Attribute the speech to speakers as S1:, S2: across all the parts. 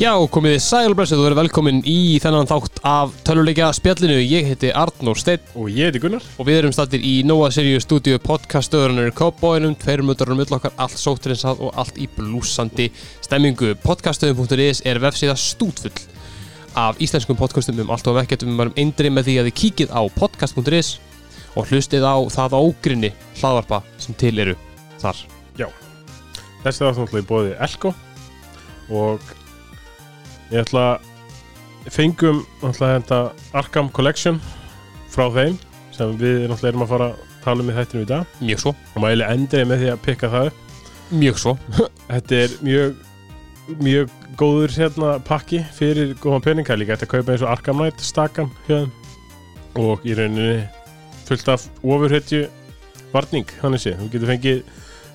S1: Já, komið þið sæl og blessið og verið velkomin í þennan þátt af töluleikja spjallinu. Ég heiti Arnór Steinn
S2: Og ég heiti Gunnar
S1: og við erum stattir í Nóa Sirius stúdíu podcastöðurinnur Cowboynum, tveirumuturinn mill um okkar, allt sóttirinsað og allt í blúsandi stemmingu. Podcastöðum.is er vefsíða stútfull af íslenskum podcastum um allt og vekkjatum um varum eindri með því að þið kíkið á podcast.is og hlustið á það ógrinni hlaðvarpa sem til eru þar.
S2: Þessi þáttur náttúrulega í bóði Elko Og ég ætla Fengum náttúrulega þetta Arkham Collection Frá þeim Sem við náttúrulega erum að fara að tala um í þættinu í dag
S1: Mjög svo,
S2: Og maður eiginlega endur með því að pikka það upp
S1: mjög svo.
S2: Þetta er mjög Mjög góður hérna pakki Fyrir góðan peninga líka Þetta kaupa eins og Arkham Knight stakan hérna. Og í rauninni fullt af ofurhetju varning Þannig sé, þú getur fengið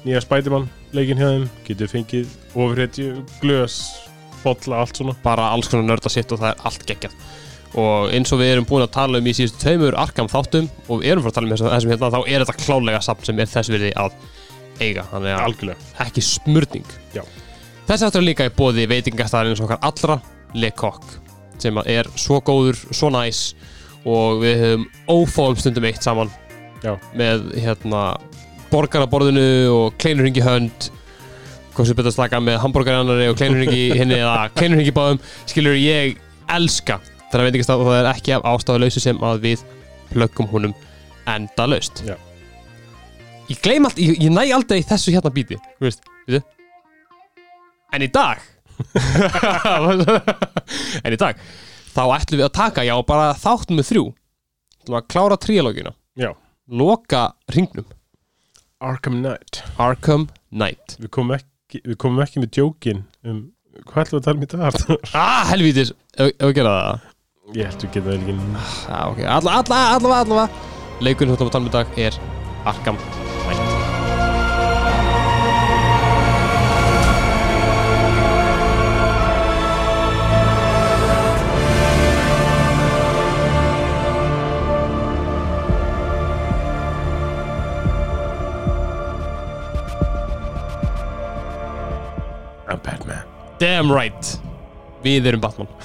S2: nýja Spiderman leikin hjá þeim getur fengið ofréttju, glös bolla, allt svona
S1: bara alls konar nörda sitt og það er allt geggjað og eins og við erum búin að tala um í síðustu tveimur Arkham þáttum og við erum frá að tala um þessum, þessum hérna þá er þetta klálega samt sem er þess virði að eiga þannig að
S2: algjörlega,
S1: ekki smurning
S2: Já.
S1: þessi áttur er líka í bóði veitingastæðarins okkar allra Lekokk sem að er svo góður, svo næs og við höfum ófáum stundum eitt saman
S2: Já.
S1: með hérna borgaraborðinu og kleinurhingi hönd hvað sem betur að slaka með hambúrgarannari og kleinurhingi henni eða kleinurhingi báðum skilur ég elska þannig að veitingastæð og það er ekki af ástæðuleysu sem að við plöggum húnum enda laust
S2: Já.
S1: ég gleym allt, ég, ég næ aldrei þessu hérna bíti þú veist, veitu en í dag en í dag þá ætlum við að taka, já, bara þáttum við þrjú ætlum að klára tríalógina
S2: já,
S1: loka ringnum
S2: Arkham Knight
S1: Arkham Knight
S2: við komum ekki, við komum ekki með djókin um hvað ætlum við að tala um í dag Arnar?
S1: ah, helvítis, ef ef við gera það
S2: ég ætlum við geta það ekki
S1: ah, ok, allavega, allavega, allavega alla. leikurinn sem við ætlum að tala um í dag er Arkham Knight
S2: I'm Ah, Batman
S1: Damn right Við erum Batman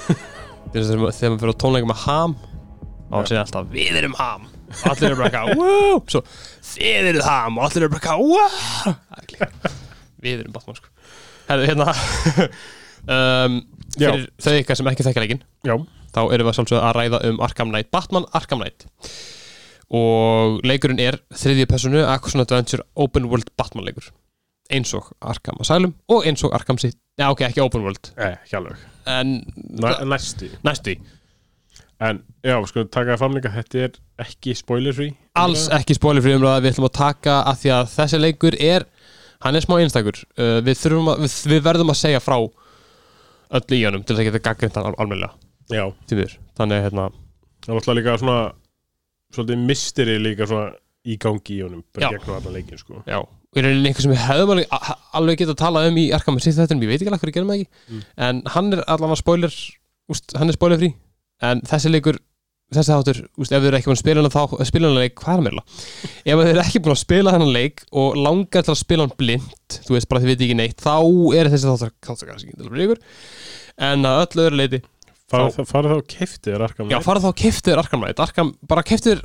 S1: Þegar þegar maður þegar maður fyrir á tónleika með ham og hann segir alltaf Við erum ham Og Allir eru bara eitthvað "Wow." Svo Þið eruð ham og Allir eru bara eitthvað "Wow." Það er klikkað. Við erum Batman sko Herðu hérna um,
S2: Já.
S1: Fyrir þau ykkar sem ekki þekkja leikinn
S2: já,
S1: þá erum við sjálfsögð að ræða um Arkham Knight Batman Arkham Knight og leikurinn er þriðja personu Action Adventure Open World Batman leikur eins og Arkham Asylum og eins og Arkham City Já, ok, ekki Open World
S2: eh, ekki alveg
S1: en
S2: Næ, næstu
S1: næstu í
S2: en já, sko, taka það fram líka þetta er ekki spoiler free
S1: alls ekki spóli frí umræða við ætlum að taka að því að þessi leikur er hann er smá einstakur uh, við, þurfum að, við, við verðum að segja frá öllu í honum til þess að geta gaggrind hann al almennilega
S2: já,
S1: til viður þannig að hérna
S2: það er alltaf líka svona svolítið mystery líka svona í gangi í honum bara
S1: Já.
S2: gegnum allan leikin sko
S1: Já, og í rauninni einhver sem við hefðum alveg, a- alveg getað að tala um í Arkham City þettunum, ég veit ekki alveg hverju gerum það ekki
S2: Mm.
S1: en hann er allavega spoiler úst, hann er spoiler frí, en þessi leikur þessi þáttur, úst, ef þau eru ekki búin að spila hann þá, eh, spila hann leik, hvað er meðla ef þau eru ekki búin að spila hann leik og langar til að spila hann blind, þú veist bara þið veit ekki neitt, þá er þessi þáttur þáttur kannski ekki til að byrja ykkur en að öllu öðru leiti,
S2: fara þá, fara þá og keifti þér Arkham
S1: já
S2: Knight.
S1: fara þá keftir Arkham Knight, Arkham, bara keftir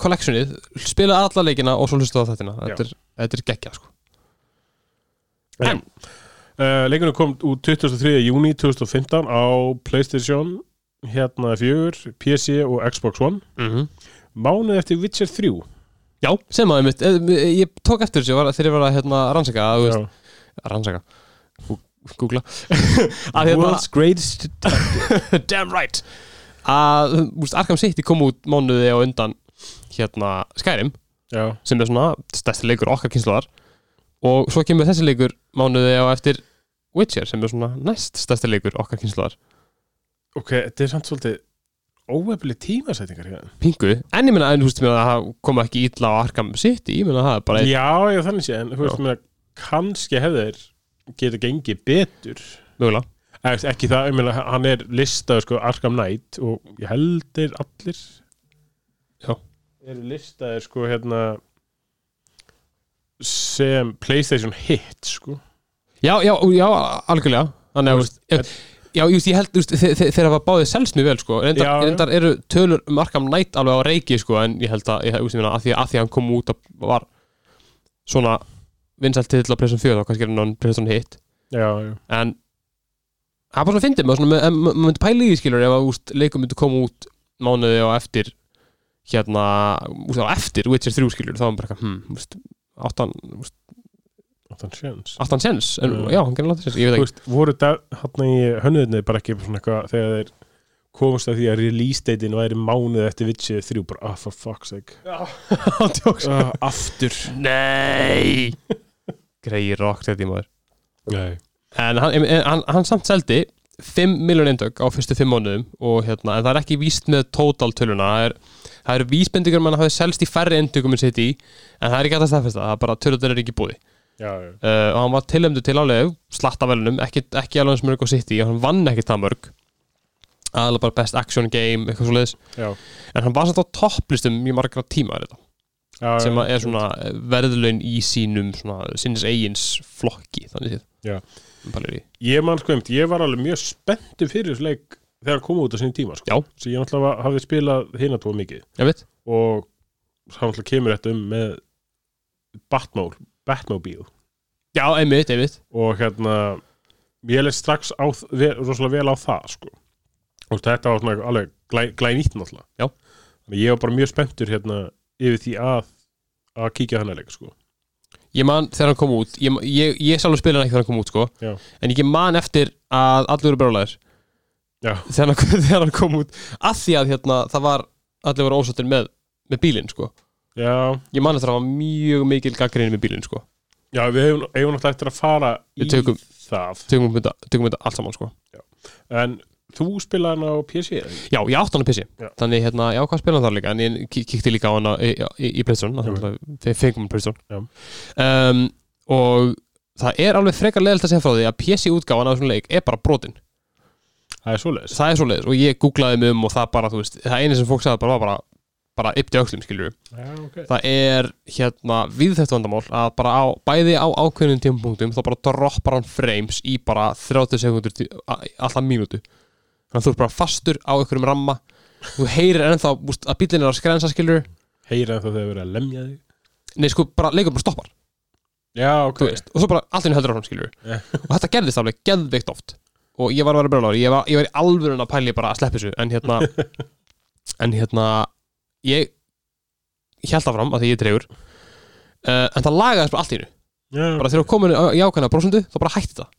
S1: collectionið, spila alla leikina og svo hlustu á þetta,
S2: Já.
S1: þetta er, þetta er geggja sko.
S2: En uh, leikunum kom út 23. júni 2015 á Playstation hérna 4, PC og Xbox One
S1: mm -hmm.
S2: Mánuð eftir Witcher 3
S1: Já, sem að einmitt, eh, ég tók eftir þessu ég var- þegar ég var að hérna, rannsaka að, þú veist,
S2: Já.
S1: rannsaka Gú- googla að hérna,
S2: World's Greatest
S1: damn right að, þú veist, Arkham City kom út mánuði á undan hérna Skyrim,
S2: Já,
S1: sem er svona stærsti leikur okkar kynsluðar og svo kemur þessi leikur mánuði á eftir Witcher, sem er svona næst stærsti leikur okkar kynsluðar,
S2: ok, þetta er samt svolítið óefli tímasætingar hérna
S1: pingu en ég meina, en þú veist, ég meina, það kom ekki ítla á Arkham City, ég meina, það er bara eitt-
S2: Já, já, þannig sé, en þú veist
S1: Já.
S2: mér kannski hefði þeir geta gengið betur
S1: mögulega
S2: Eða, ekki það, ég meina, hann er listaður sko Arkham Knight og ég held þeir allir
S1: Já.
S2: eru listaður sko hérna sem Playstation sko. hit sko
S1: Já, já, já, algjörlega Þannig að, þú
S2: Þú veist,
S1: veist, ef, Já, just, ég held, just, þe þe þeir hafa báðið selst mjög vel, sko reyndar,
S2: Já, já.
S1: reyndar eru tölur um Arkham Knight alveg á reiki, sko En ég held að, ég, just, ég meina, að því að því að hann kom út að var svona vinsælt til að pressa um fjöð og kannski er hann orðinn PlayStation hitt
S2: já, já,
S1: En það er bara svona fyndið, maður svona, með- en maður myndi pæla í því skilur ef að úst, leikum myndi koma út mánuði á eftir hérna, úst, á eftir Witcher 3 skilur, þá er bara, eitthvað, hmm, úst, áttan, úst,
S2: áttan sjöns
S1: áttan sens en,
S2: Mm.
S1: já, hann gerir látið sens, ég veit
S2: Þú
S1: ekki
S2: veist, voru hann í hönnuðinni bara ekki svona eitthvað þegar þeir komast að því að release date-in væri mánuð eftir Witcher 3 bara, ah, for fuck's sake
S1: Ándjóks
S2: uh, aftur
S1: Nei Greiði rockt þetta í maður
S2: Nei.
S1: En hann, en hann, hann samt seldi 5 miljón eindök á fyrstu 5 mánuðum og hérna, en það er ekki víst með total töluna það er, það er vísbendingur um að hann hafi selst í færri eintökum en sitt í en það er ekki alltaf staðfesta, það er bara tölunar er ekki búið
S2: já, já,
S1: uh, og hann var tilömdu til álega slatta velunum, ekki, ekki alveg eins mörg og sitt í hann vann ekki það mörg aðalega bara best action game, eitthvað svo
S2: já,
S1: en hann var samt á topplistum í margra tíma þetta
S2: já
S1: sem að
S2: já,
S1: er svona verðlaun í sínum svona, sinns eigins flokki þannig séð
S2: Já.
S1: Bara er í-
S2: ég man sko eimt, ég var alveg mjög spenntu fyrir þessu leik þegar hann kom út á sinni tíma sko.
S1: Já.
S2: svo ég náttúrulega var- hafði spilað hina tvo mikið
S1: ég veit,
S2: og hann náttúrulega kemur þetta um með Batmobile, Batmobile
S1: já, einmitt, einmitt
S2: og hérna ég leist strax á, ve, rosalega vel á það sko. og þetta var svona alveg glæ, glænýtt náttúrulega
S1: Já.
S2: þannig að ég var bara mjög spenntur hérna yfir því að að kíkja hann að leika sko.
S1: ég man þegar hann kom út, ég, ég, ég sjálfur spila hann ekki þegar hann kom út sko,
S2: Já.
S1: en ég man eftir að allir eru brjólaðir
S2: Já.
S1: þegar, hann- þegar hann kom út að því að hérna, það var, allir voru ósáttir með, með bílinn sko,
S2: já,
S1: ég man eftir að það var mjög mikil gaggrinni með bílinn sko,
S2: já, við hefum, hefum náttúrulega eftir að fara
S1: Við tökum-
S2: í það
S1: tökum við þetta- tökum við þetta allt saman sko
S2: en þú spilaði hann á PC eða ekki?
S1: Já, ég átti hann að pissi
S2: Já.
S1: Þannig hérna, já, hvað spila hann þar líka En ég kí- kíkti líka á hann í, í, í Playstone
S2: Já.
S1: Þegar fengum hann Playstone um, Og það er alveg frekar leðilt að segja frá því að PC útgáfan af svona leik er bara brotin
S2: það er svoleiðis
S1: Það er svoleiðis og ég googlaði mig um og það bara, þú veist Það eina sem fólk sagði bara var bara bara yppti öxlum skilur
S2: já, okay.
S1: það er hérna við þetta vandamál að bara á, bæði á ákveðnum tímapunktum þá bara droppar hann frames í bara 30 sekundur alltaf mínútu þannig að þú er bara fastur á einhverjum ramma þú heyrir ennþá úst, að bílinn er að skrensa skilur
S2: heyra það þegar verið að lemja þig
S1: nei sko bara leikur bara stoppar
S2: já, ok
S1: þú veist og svo bara allt henni heldur áfram skilur
S2: Já.
S1: og þetta gerðist alveg geðveikt oft og ég var að vera brjólar ég var, ég var í alvörun að pæli bara að sleppa þessu en hérna en hérna ég held áfram að því ég er dreigur uh, en það lagaðist bara allt í hennu
S2: já,
S1: bara þegar þú komin í ákveðna brósundu þá bara hætti það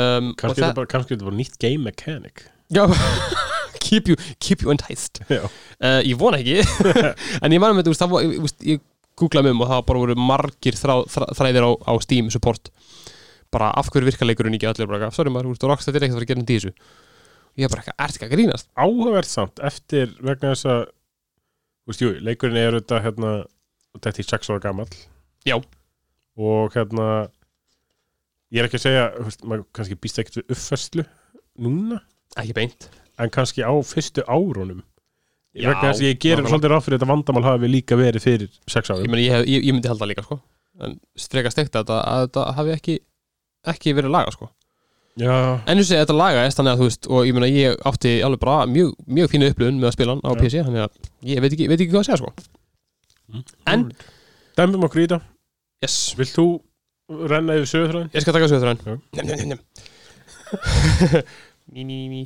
S1: um,
S2: kannski er þetta bara, kannski er þetta bara nýtt game mechanic
S1: já, keep, you, keep you enticed
S2: já,
S1: uh, ég vona ekki en ég manum þetta, þú veist, það var- ég- þú veist, ég googlaði mig um og það bara voru margir þrá, þrá, þræðir á, á Steam support bara af hverju virka leikurinn ekki allir bara, eitthvað, sorry maður, þú veist, rockst þetta er ekkert að fara að gera neitt í þessu ég er bara eitthvað, ert ekki að grínast
S2: áhugavert samt eftir vegna þess að þú veist, jú, leikurinn er auðvitað hérna, þetta er 6 ára gamall
S1: Já.
S2: og hérna ég er ekki að segja, þú veist, maður kannski býst ekkert við uppfæslu núna
S1: ekki beint
S2: en kannski á fyrstu árunum
S1: Já,
S2: vegna þess að ég gerir
S1: nákvæmlega.
S2: svolítið ráð fyrir þetta vandamál hafi líka verið fyrir 6
S1: ég,
S2: árum
S1: meni, ég, hef, ég, ég myndi held það líka, sko en freka stekta þetta, að þetta hafi ekki ekki verið laga, sko
S2: já,
S1: En þess að þetta lagaðist þannig að þú veist og ég meina ég átti alveg bara mjög, mjög fínu upplöðun með að spila hann á
S2: Já.
S1: PC þannig að ég veit ekki, veit ekki hvað að segja sko
S2: Mm.
S1: En-
S2: dæmum okkur í þetta,
S1: Yes,
S2: vilt þú renna yfir sögurþræðin?
S1: ég skal taka sögur þrján
S2: Já.
S1: Njem, njem, njem, njem Ný, ný, ný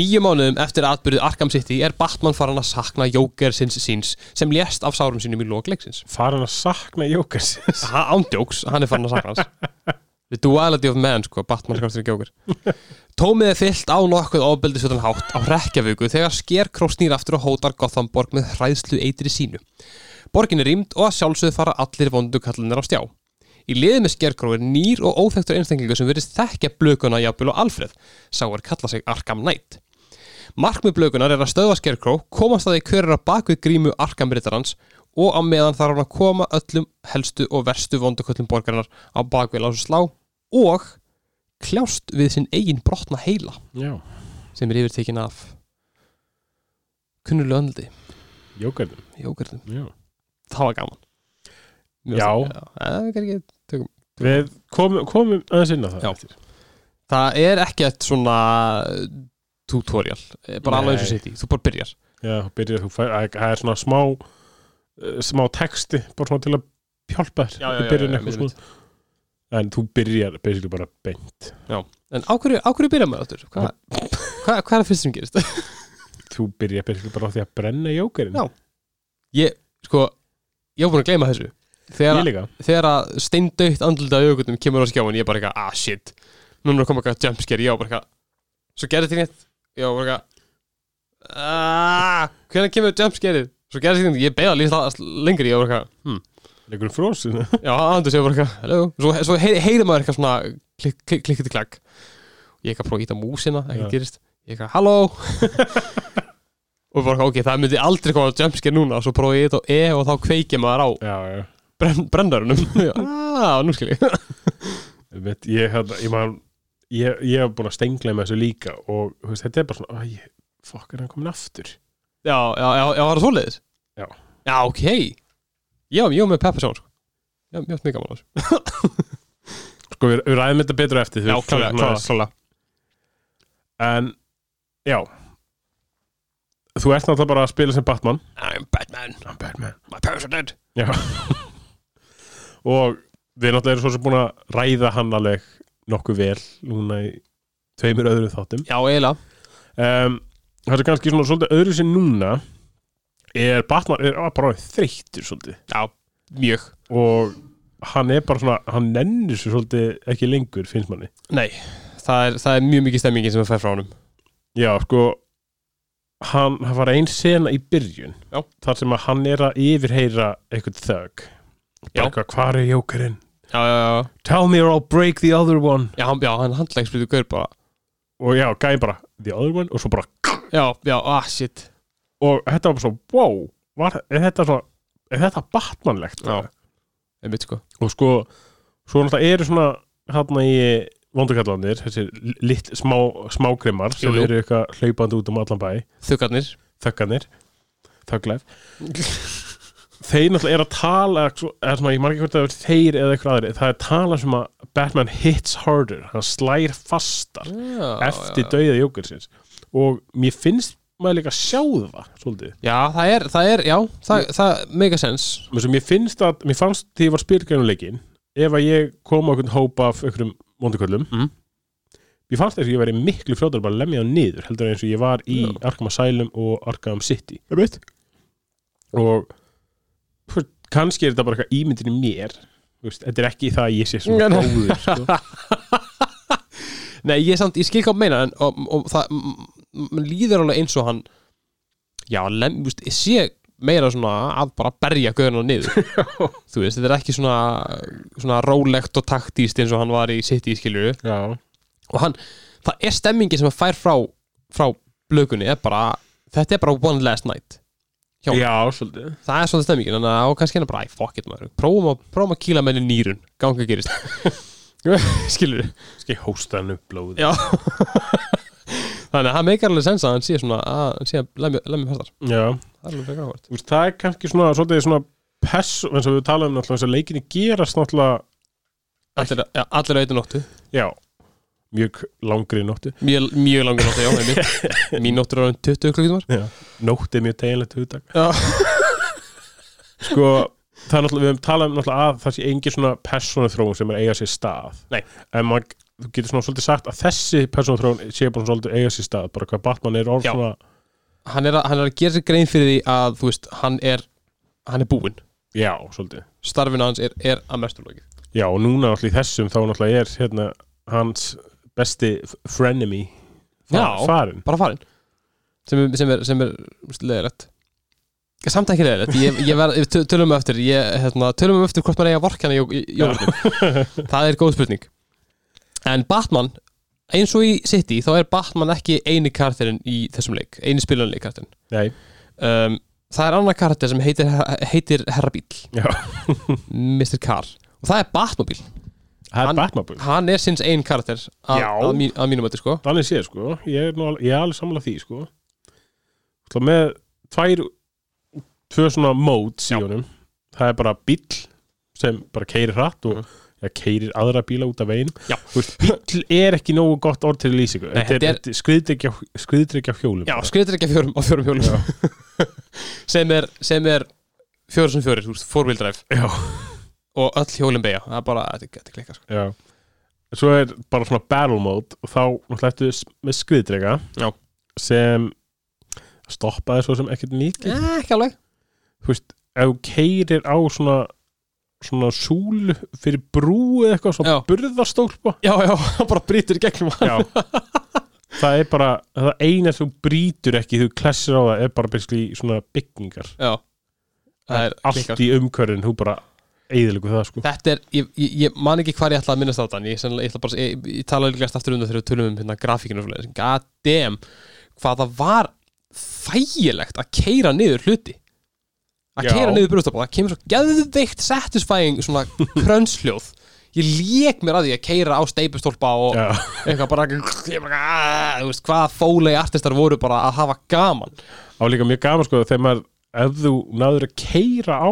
S1: Níu mánuðum eftir atbyrðið Arkham City er Batman farin að sakna Joker sinns síns sem lést af sárum sínum í lókleiksins
S2: farin að sakna Jókers
S1: Ándjóks, hann er farin að sakna hans The duality of man, sko, Batman skrafturinn Joker Tómið er fyllt á nokkuð ofbeldisvöldan hátt á rekjavöku þegar skerkró snýr aftur og hótar Gothamborg með hræðslu eitri sínu. Borgin er rýmd og að sjálfsögðu fara allir vondu kallinir á stjá. Í liði með skerkró er nýr og óþektur einstaklingur sem verðist þekkja blökuna jafnvel og Alfred, sá er kalla sig Arkham Knight. Markmið blökunar er að stöðva skerkró, komast að því kjörir á bakvið grímu Arkham Rittarans og á meðan þarf hann að koma öllum helstu og verstu vonduköllum borgarinnar á bakvið lásu slá og kljást við sinn eigin brotna heila
S2: já,
S1: sem er yfirtekin af kunnulega öndi
S2: Jókernum
S1: jógurðum,
S2: já
S1: það var gaman Mér
S2: Já.
S1: fannst það- já, það er ekki-
S2: Við komum, komum aðeins inn á það
S1: Já.
S2: eftir.
S1: það er ekkert svona eh, tutorial, eh, bara alveg eins og
S2: Nei.
S1: sitt í þú bara byrjar
S2: Já, byrjar, þú fær, að- það er svona smá eh, smá texti, bara svona til að hjálpa þér í byrjun eitthvað svona en þú byrjar basically bara beint
S1: en á hverju, á hverju byrjar maður áttur? Hva, hva, hvað er það fyrst sem gerist?
S2: þú byrjar basically bara á því að brenna jókerinn
S1: Já. ég, sko, ég var búin að gleyma þessu
S2: ég
S1: þegar,
S2: líka
S1: þegar að steindaukt andlitað auðvitaðum kemur á skjáin ég er bara eitthvað, ah shit núna er að koma eitthvað jumpscare, ég var bara eitthvað svo gerði þetta neitt, ég var bara eitthvað aaaah, hvernig kemur jumpscareið svo gerði þetta neitt, ég beða líka lengri, ég var bara eitthvað hmm.
S2: leikur um frósin
S1: Já, andur séu bara eitthvað, hello Svo, svo heyri, heyri maður eitthvað svona klik, klik, klikkið til klakk Ég eitthvað prófa að íta músina,
S2: Já.
S1: ekkert gerist Ég eitthvað, halló Og bara eitthvað, ok, það myndi aldrei koma jumpscare núna Svo prófa ég þetta á E og þá kveikja maður á
S2: já, já
S1: brenn, brennarunum Já, nú skil ég
S2: Veit, ég, hérna, ég, man, ég, ég hef búin að stengla með þessu líka og þú veist, þetta er bara svona "Æ, ég- fokk er hann komin aftur
S1: Já, já, já, já, var það svoleiðis?
S2: Já.
S1: Já, ok Já, ég var með Peppa Sjón, sko Já, mjög mjög gaman á þessu
S2: sko við, við ræðum þetta betur á eftir þú
S1: Já,
S2: veist,
S1: klálega,
S2: svona-
S1: klálega, klálega
S2: en já þú ert náttúrulega bara að spila sem Batman
S1: I'm Batman,
S2: I'm Batman
S1: my parents are dead
S2: já og við náttúrulega erum svo sem búin að ræða hann alveg nokkuð vel núna í tveimur öðrum þáttum
S1: Já, eiginlega
S2: um, það er kannski svona svolítið öðru sem núna er Batman er bara þreyttur svolítið
S1: Já, mjög
S2: og hann er bara svona, hann nennir sér svolítið ekki lengur, finnst manni
S1: Nei, það er, það er mjög mikið stemmingin sem að fer frá honum
S2: já, sko hann, það var ein sena í byrjun
S1: Já.
S2: þar sem að hann er að yfirheyra eitthvað þögg
S1: Já.
S2: hvað er jókarinn?
S1: Já, já, já
S2: Tell me or I'll break the other one
S1: Já, hann, já, hann handla ekki splitu gaur bara
S2: og já, gæði bara the other one og svo bara
S1: Já, já, ah, shit
S2: og þetta var bara svo, wow var, er þetta svo, er þetta batmanlegt
S1: Já. Einmitt, sko
S2: og sko, svo náttúrulega eru svona hérna í vondukallandir þessi litt smá, smágrimmar sem
S1: Jú, jú.
S2: eru eitthvað hlaupandi út um allan bæ
S1: Þugarnir
S2: þögganir, þögglæf þeir náttúrulega eru að tala svo- eða svona, ég margir hvort að það er þeir eða eitthvað aðri, það er tala sem að Batman hits harder, hann slær fastar
S1: Já,
S2: eftir
S1: já.
S2: dauða jókursins og mér finnst maður líka sjá það svolítið,
S1: já, það er, það er, já, það, það mega sens
S2: mér, mér finnst að mér fannst því ég var spilgrænuleikin ef að ég kom á einhvern hóp af einhverjum vonduköllum
S1: Mhm.
S2: mér fannst þess að ég væri miklu fljótar bara að lemja hann niður heldur en eins og ég var í
S1: Já.
S2: Arkham Asylum og Arkham City
S1: Einmitt
S2: og þú veist, kannski er þetta bara eitthvað ímyndin í mér þú veist, þetta er ekki það að ég sé svona
S1: Nei, nei.
S2: góður sko.
S1: Nei, ég samt, ég skil hvað hann meina en, og, og það m- m- líður alveg eins og hann Já, lem, þú veist, ég sé meira svona að bara berja gauðina niður Þú veist, þetta er ekki svona svona rólegt og taktíst eins og hann var í sitt í skilju
S2: já,
S1: og hann, það er stemmingi sem að fær frá frá blökunni er bara, þetta er bara one last night Já.
S2: já, svolítið
S1: það er svona stemmingi, þannig að á kannski hann bara æ, fuck it maður, prófum að, prófum að kýla menni nýrun ganga gerist skilur
S2: kannski hósta hann upp blóð
S1: já þannig að það meikar alveg sens að hann sé svona að hann sé að lemja lemja fastar
S2: já,
S1: það er alveg frekar áhvert
S2: Þú veist, það er kannski svona, svolítið svona perso, eins og við talaðum náttúrulega þess að leikinni gerast náttúrulega
S1: allir, ja, allir auðvitað nóttu,
S2: já, mjög langri nóttu
S1: mjög, mjög langur nóttu já, einmitt. mín nóttur er orðin 20 klukkutímar
S2: nótt er mjög teginlegt hugtak
S1: Já.
S2: sko, það er náttúrulega við höfum talað um náttúrulega að það sé engin svona persónuþróun sem er að eiga sér stað
S1: Nei.
S2: en maður þú getur svona svolítið sagt að þessi persónuþróun sé bara svolítið eiga sér stað bara hvað Batman er orð
S1: Já.
S2: svona
S1: hann er, að, hann er að gera sér grein fyrir því að þú veist, hann er hann er búinn,
S2: já, svolítið
S1: starfinu hans er, er að mestu lokið
S2: já, og núna náttúrulega í þessum þá náttúrulega er hérna hans besti f- frenemy
S1: Já.
S2: farin
S1: bara farin sem er, sem er, sem er leðilegt samt ekki leðilegt ég, ég verð, ég töl- tölum við eftir ég, hérna, tölum við eftir hvort maður eiga að vorkana jólum það er góð spurning en Batman eins og í City þá er Batman ekki eini karakterinn í þessum leik eini spilanleik karakterinn
S2: nei,
S1: um, það er annar karakter sem heitir, heitir Herra Bíl
S2: já,
S1: Mr. Car og það er Batmobíl
S2: það
S1: Hann-
S2: er Batman
S1: hann er sinns ein karakter að,
S2: Já.
S1: að, mín, að mínum öllu sko
S2: Þannig séð sko, ég er, nú, al- ég er alveg samlega því sko Þá með tvær tvö svona mót í honum það er bara bíll sem bara keiri hratt og eða keirir aðra bíla út af veginum
S1: Mm. Já.
S2: Þú veist, bíl er ekki nógu gott orð til lýsingu
S1: Nei,
S2: þetta
S1: þetta er-
S2: er, er... skriðdrykja skriðdrykja hjólum
S1: Já, skriður ekki fjórum á fjórum hjólum sem er, sem er fjórum sem fjórir, þú veist, four wheel drive
S2: Já.
S1: og öll hjólum beigja, það er bara, þetta er- þetta er klikkað sko.
S2: Já. svo er bara svona battle mode og þá náttúrulega ertu s- með skriðdrykja
S1: Já.
S2: sem stoppaði svo sem ekkert mikið
S1: Eh, Ekki alveg
S2: þú veist, ef þú keirir á svona svona súlu fyrir brú eða eitthvað, svona
S1: Já.
S2: burðarstólpa
S1: Já, já, hann bara brýtur í gegnum hann
S2: Já Það er bara, það eina sem þú brýtur ekki þú klessir á það er bara basically svona byggingar
S1: Já, það er
S2: Allt
S1: klikkað sko.
S2: í umkörðin, þú bara eðilegu það sko
S1: Þetta er, ég, ég, ég man ekki hvað ég ætla að minnast á þetta en ég, sennilega- ég ætla bara, ég, ég tala líkast aftur um það þegar við tölum um hérna grafíkinu og svoleiðis. God damn, hvað það var þægilegt að keira niður hluti að
S2: Já.
S1: keira niður brústapá, það kemur svo geðveikt satisfying svona krönsljóð ég lék mér að því að keira á steipustólpa og
S2: Já,
S1: eitthvað bara, ég bara "Ah", þú veist, hvað fólegi artistar voru bara að hafa gaman
S2: á líka mjög gaman sko þegar maður, ef þú náður að keira á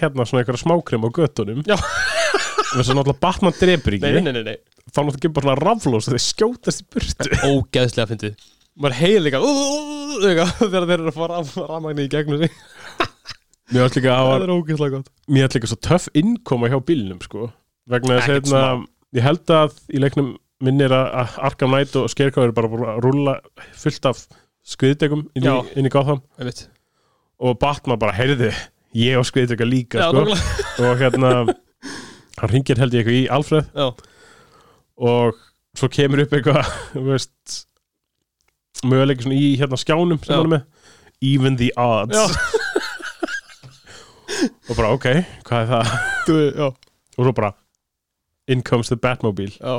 S2: hérna svona einhverja smákrim á göttunum
S1: Já.
S2: Þess að náttúrulega Batman drepur ekki
S1: nei, nei, nei.
S2: þá náttúrulega kemur bara svona raflós þeir skjótast í burtu
S1: ógeðslega fyndið maður heilir líka "Ú", eitthvað, þegar þeir eru að fara rafmagni í gegnum sig
S2: Mér ætla líka að
S1: það er ógeðslega gott
S2: mér ætla líka svo töff innkoma hjá bílnum sko. vegna þess
S1: Ekkert
S2: hérna, ég held að í leiknum minnir að- að Arkham Knight og Skerkáður bara búin að rúlla fullt af skriðdegum inn,
S1: Já.
S2: í- inn í Gotham
S1: Einmitt.
S2: og Batman bara heyrði ég og skriðdega líka
S1: Já,
S2: sko.
S1: nákvæmlega.
S2: og hérna hann ringir held ég eitthvað í Alfred
S1: Já.
S2: og svo kemur upp eitthvað þú veist möguleik svona í hérna skjánum sem
S1: Já.
S2: hann er með even the odds
S1: Já.
S2: og bara ok, hvað er það
S1: Þú, já,
S2: og svo bara in comes the Batmobile
S1: já.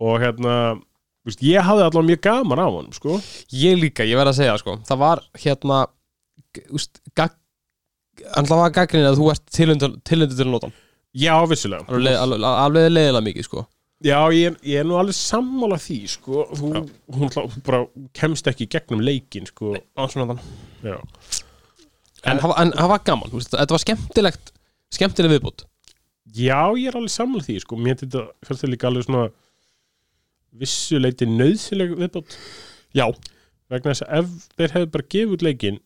S2: og hérna þú veist, ég hafði allavega mjög gaman á hann sko.
S1: Ég líka, ég verð að segja sko Það var hérna g- úst, gag, Alltaf var gaggrinni að þú ert tilöndur til að nota hann
S2: já, vissulega
S1: Alveg leið- alveg- Alveg leiðilega mikið sko
S2: já, ég, er- ég er nú alveg sammála því sko. hún, hún, hlá- hún bara kemst ekki í gegnum leikin sko.
S1: En
S2: já.
S1: það var- en það var gaman, úst, þetta var skemmtilegt Skemmtileg viðbútt
S2: já, ég er alveg sammála því sko. mér þetta fyrst þetta líka alveg svona vissuleiti nöðsileg viðbót
S1: Já,
S2: vegna þess að ef þeir hefðu bara gefið út leikin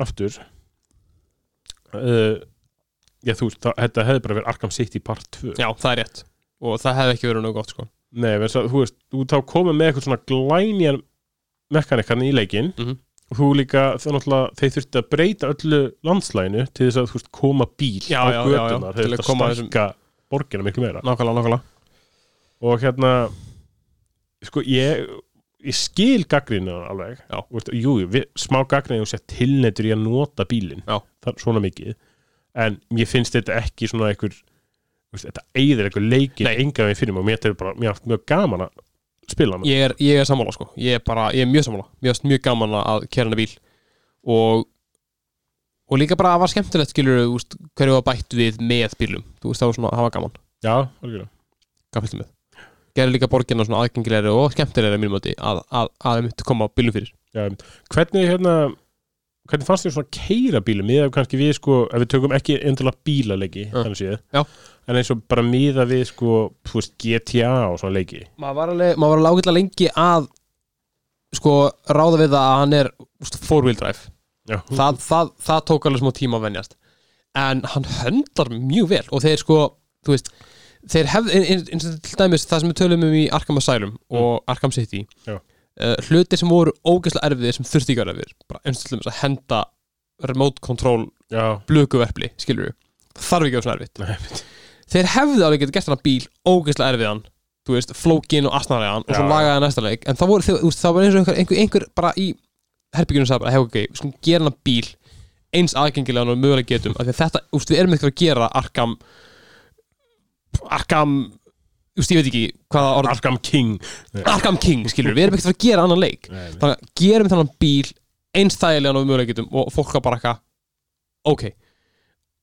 S2: aftur uh, já, þú veist, það, þetta hefði bara verið Arkham City part 2
S1: já, það er rétt Og það hefði ekki verið nú gott sko
S2: Nei, verðs að, þú veist, þú þá komið með eitthvað svona glænjan mekanikan í leikinn
S1: Mhm.
S2: og þú líka, það er náttúrulega, þeir þurfti að breyta öllu landslæginu til þess að, þú veist, koma bíl
S1: Já,
S2: á
S1: já, já, já,
S2: götunar,
S1: til
S2: þeir
S1: að
S2: þurfti
S1: koma
S2: að
S1: þessum-
S2: stækka borgina miklu meira
S1: Nákvæmlega, nákvæmlega
S2: og hérna, sko, ég ég skil gaggrinu alveg
S1: Já.
S2: Þú veist, jú, jú, við, smá gaggrinu og sér tilnættur í að nota bílinn
S1: Já.
S2: það er svona mikið en mér finnst þetta ekki svona einhver þú veist, þetta eigður einhver leikin
S1: Nei.
S2: enga við fyrir mig og mér þetta er bara, mér er mjög gaman að spila hana
S1: ég er, ég er sammála sko ég er bara, ég er mjög sammála mér finnst mjög gaman að kera hennar bíl og og líka bara að var skemmtilegt skilur þú veist, hverju var bætt við með bílum þú veist það var svona, það var gaman,
S2: Já, algjörlega
S1: gaf fylgum við gerði líka borginna svona aðgengilegri og skemmtilegri að mínum átti að, að, að þeim myndi koma á bílum fyrir
S2: Já, einmitt. hvernig, hérna, hvernig fannst þér svona keira bílum miða kannski við sko, ef við tökum ekki endurlega bílaleiki
S1: Já.
S2: þannig séð,
S1: Já.
S2: en eins og bara miða við sko, þú veist, GTA og svona leiki
S1: maður var alveg, maður var alveg ágætlega lengi að sko ráða við það að hann er úst, four wheel drive
S2: Já,
S1: það, það, það tók alveg smá tíma að venjast en hann höndlar mjög vel og þeir sko, þú veist þeir hefði, eins og til dæmis það sem við tölum um í Arkham Asylum og Arkham City
S2: Já.
S1: uh, hlutir sem voru ógeðslega erfiðir sem þurfti ekki að vera erfiðir bara eins og til dæmis að henda remote control
S2: já,
S1: blökuverfli, skilur við þarf ekki að vera svona erfitt
S2: Nei, einmitt.
S1: þeir hefði alveg getið gert hann bíl ógeðslega erfiðan þú veist, flókin og asnaræðan og svo
S2: Já,
S1: lagaði hann næsta leik en það voru, þau- þú veist, það var eins og einhver, einhver, einhver bara í herbyggjunum sagði bara, hef ok, við skulum gera hann bíl eins aðgengilegan og við mögulega getum af því að þetta, þú veist, við erum eitthvað að gera Arkham Arkham þú veist, ég veit ekki hvaða orð
S2: Arkham King
S1: Arkham King, skilur, við erum ekkert að fara að gera annan leik
S2: Nei, einmitt.
S1: þannig að gerum þennan bíl eins þægilegan og við mögulega getum og fólk var bara eitthvað ok,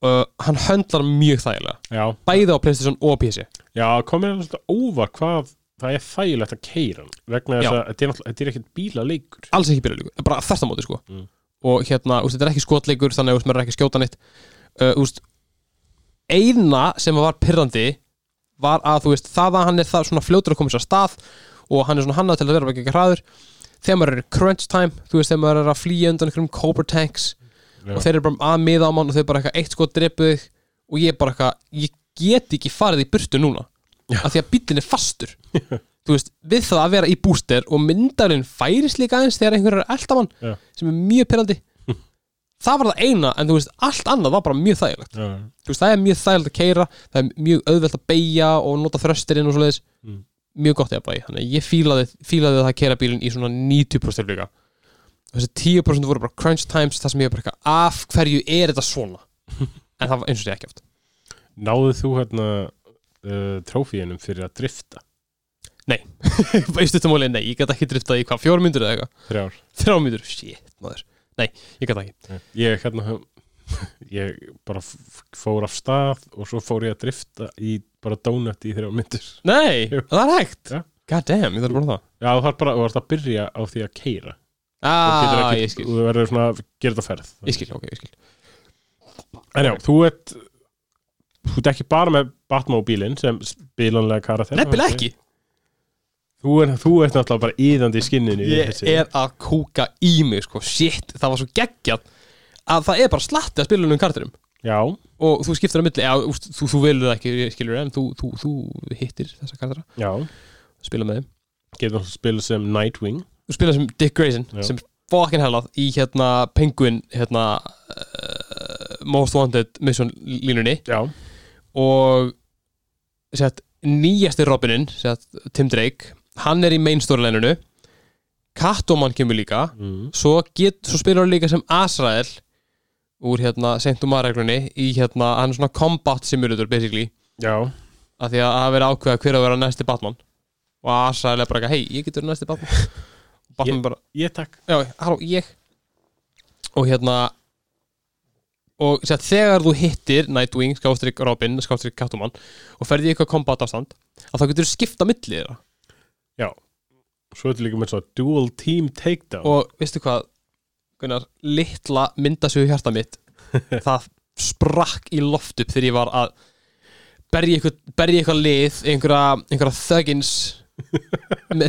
S1: uh, hann höndlar hann mjög þægilega
S2: Já,
S1: bæði á Playstation og PC
S2: já komið er svolítið óva hvað það er þægilegt að keira hann, vegna
S1: Já.
S2: þess að þetta er, náttúrulega- þetta er ekkert bílaleikur
S1: alls ekki byrjuleikur, bara þvert á móti sko
S2: Mm.
S1: og hérna, úst, þetta er ekki skotleikur þannig að úst, maður er ekki að skjóta neitt uh, úst, eina sem var pyrrandi var að þú veist það að hann er það svona fljótur að koma sér að stað og hann er svona hannað til að vera ekki hraður þegar maður er í crunch time þú veist þegar maður er að flýja undan einhverjum cobra tanks
S2: Já.
S1: og þeir eru bara að miða á mann og þeir bara eitthvað eitt sko drepu þig og ég bara eitthvað ég get ekki farið í burtu núna af því að bíllinn er fastur þú veist við það að vera í booster og myndarinn færis líka aðeins þegar einhverjum er eldamann
S2: Já.
S1: sem er mjög pyrrandi
S2: Hm.
S1: það var það eina en þú veist allt annað var bara mjög þægilegt
S2: Já,
S1: þú veist, það er mjög þægilegt að keira það er mjög auðvelt að beigja og nota þröstirinn og svoleiðis
S2: Mm.
S1: mjög gott ég að bæja, þannig að ég fílaði, fílaði það að keira bílinn í svona 90% líka þessi 10% voru bara crunch times það sem ég er bara eitthvað, af hverju er þetta svona en það var eins og þetta ekki oft
S2: Náðu þú hérna uh, trófíinum fyrir að drifta
S1: í stuttamóli, nei, ég gæti ekki driftað í hvað, fjórum myndur eða eitthvað,
S2: þrjár?
S1: þrjá myndur shit, maður, nei, ég gæti ekki
S2: Ég hérna ég bara f- fór af stað og svo fór ég að drifta í bara donut í þrjár myndir
S1: nei,
S2: Jú.
S1: það er hægt
S2: Já.
S1: god damn, ég þarf að búin það
S2: Já, þú þarf bara þú þarf að byrja á því að keira
S1: ah, ég skil,
S2: og þú verður svona að gera þetta á ferð
S1: ég skil, ok, ég skil
S2: En já, þú ert þú ert ekki bara með Batmobílinn sem spilanlega karakter
S1: nefnilega ekki,
S2: Þú, er, þú ert náttúrulega bara íðandi í skinninu í
S1: ég
S2: þessu.
S1: er að kúka í mig sko, shit, það var svo geggjað að það er bara slatti að spila um kartinum
S2: Já,
S1: og þú skiptir á milli, eða, úst, þú, þú velur það ekki ég skilur en þú, þú, þú hittir þessa kartara,
S2: já
S1: spila með þeim
S2: Getur náttúrulega spilað sem Nightwing
S1: þú spila sem Dick Grayson,
S2: Já.
S1: sem fucking hellað í hérna Penguin hérna uh, Most Wanted mission línunni
S2: Já,
S1: og sett, nýjasti Robinin, sett, Tim Drake hann er í main story læninu Catwoman kemur líka
S2: mm.
S1: svo, get, svo spilar hann líka sem Azrael úr hérna Saint-Umar-reglunni í hérna, hann er svona combat simulator basically,
S2: já
S1: af því að það hafa verið ákveða hver á að vera næsti Batman og Azrael er bara eitthvað, hei, ég getur næsti Batman og Batman bara,
S2: Ég takk
S1: já, halló, ég og hérna og sér, þegar þú hittir Nightwing, skástrík Robin, skástrík Catwoman og ferði í eitthvað combat ástand að þá getur þú skipta milli þeirra
S2: Svo ertu líka með svo dual team takedown
S1: og veistu hvað Gunnar, litla myndasögu hjarta mitt það sprakk í loft upp þegar ég var að berja eitthvað, berja eitthvað lið einhverja, einhverja þöggins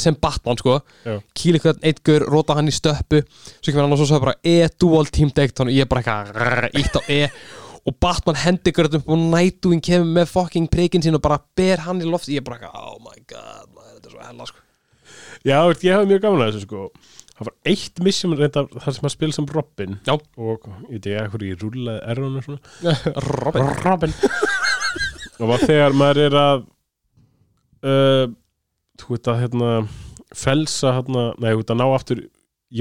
S1: sem Batman sko
S2: Já.
S1: kýla eitthvað eitthvað, róta hann í stöppu svo kemur hann og svo sagði bara E dual team deckton og ég bara eitthvað ítt á E og Batman hendi eitthvað upp og Nightwing kemur með fucking prikinn sín og bara ber hann í loft ég bara eitthvað, oh my god, maður, þetta er svo hella sko
S2: Já, veist, ég hafa mjög gaman að þessu sko Það var eitt missjum reynda þar sem að spila sem Robin
S1: Já.
S2: Og ég veit ekki hverju ég rúlaði erunum svona
S1: Robin,
S2: Robin Og var þegar maður er að uh, Þú veit að hérna Felsa hérna Nei, þú veit að ná aftur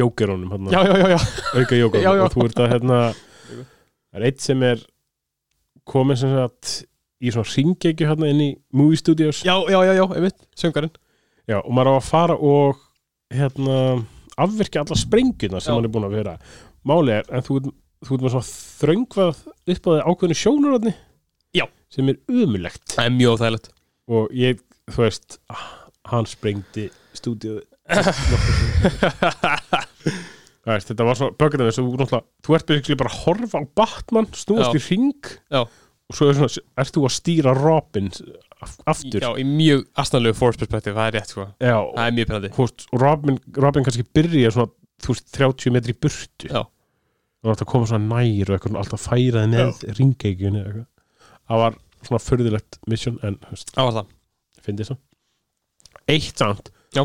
S2: jókerunum hérna,
S1: já, já, já, já.
S2: Auka
S1: Já, já.
S2: jókerunum Og þú veit að hérna Það er eitt sem er komin sem sagt Í svona ringekju hérna inn í movie studios
S1: Já, já, já, já, einmitt, söngarinn
S2: Já, og maður á að fara og hérna, afvirkja alla sprengjuna
S1: Já.
S2: sem hann er búin að vera Máli er, en þú, ert- þú ert með svona þröngvað upp á því ákveðinu sjónurotni
S1: Já.
S2: sem er umulegt
S1: Það er mjög þægilegt
S2: og ég, þú veist ah, hann sprengdi stúdíu Veist, þetta var svona böggjum þess að þú náttúrulega þú ert basically bara að horfa á Batman snúast
S1: Já.
S2: í ring
S1: Já.
S2: og svo er svona, ert þú að stýra Robin af- aftur
S1: Já, í mjög astanlegu force perspective, það er rétt sko
S2: Já.
S1: Það er mjög penandi
S2: þú veist, og Robin, Robin kannski byrja svona, þú veist, 30 metri í burtu
S1: Já.
S2: og það koma svona nær og eitthvað svona alltaf færaði með ringeikjunni það var svona förðilegt mission en þú veist,
S1: Það var það
S2: finnst þess að eitt samt
S1: Já.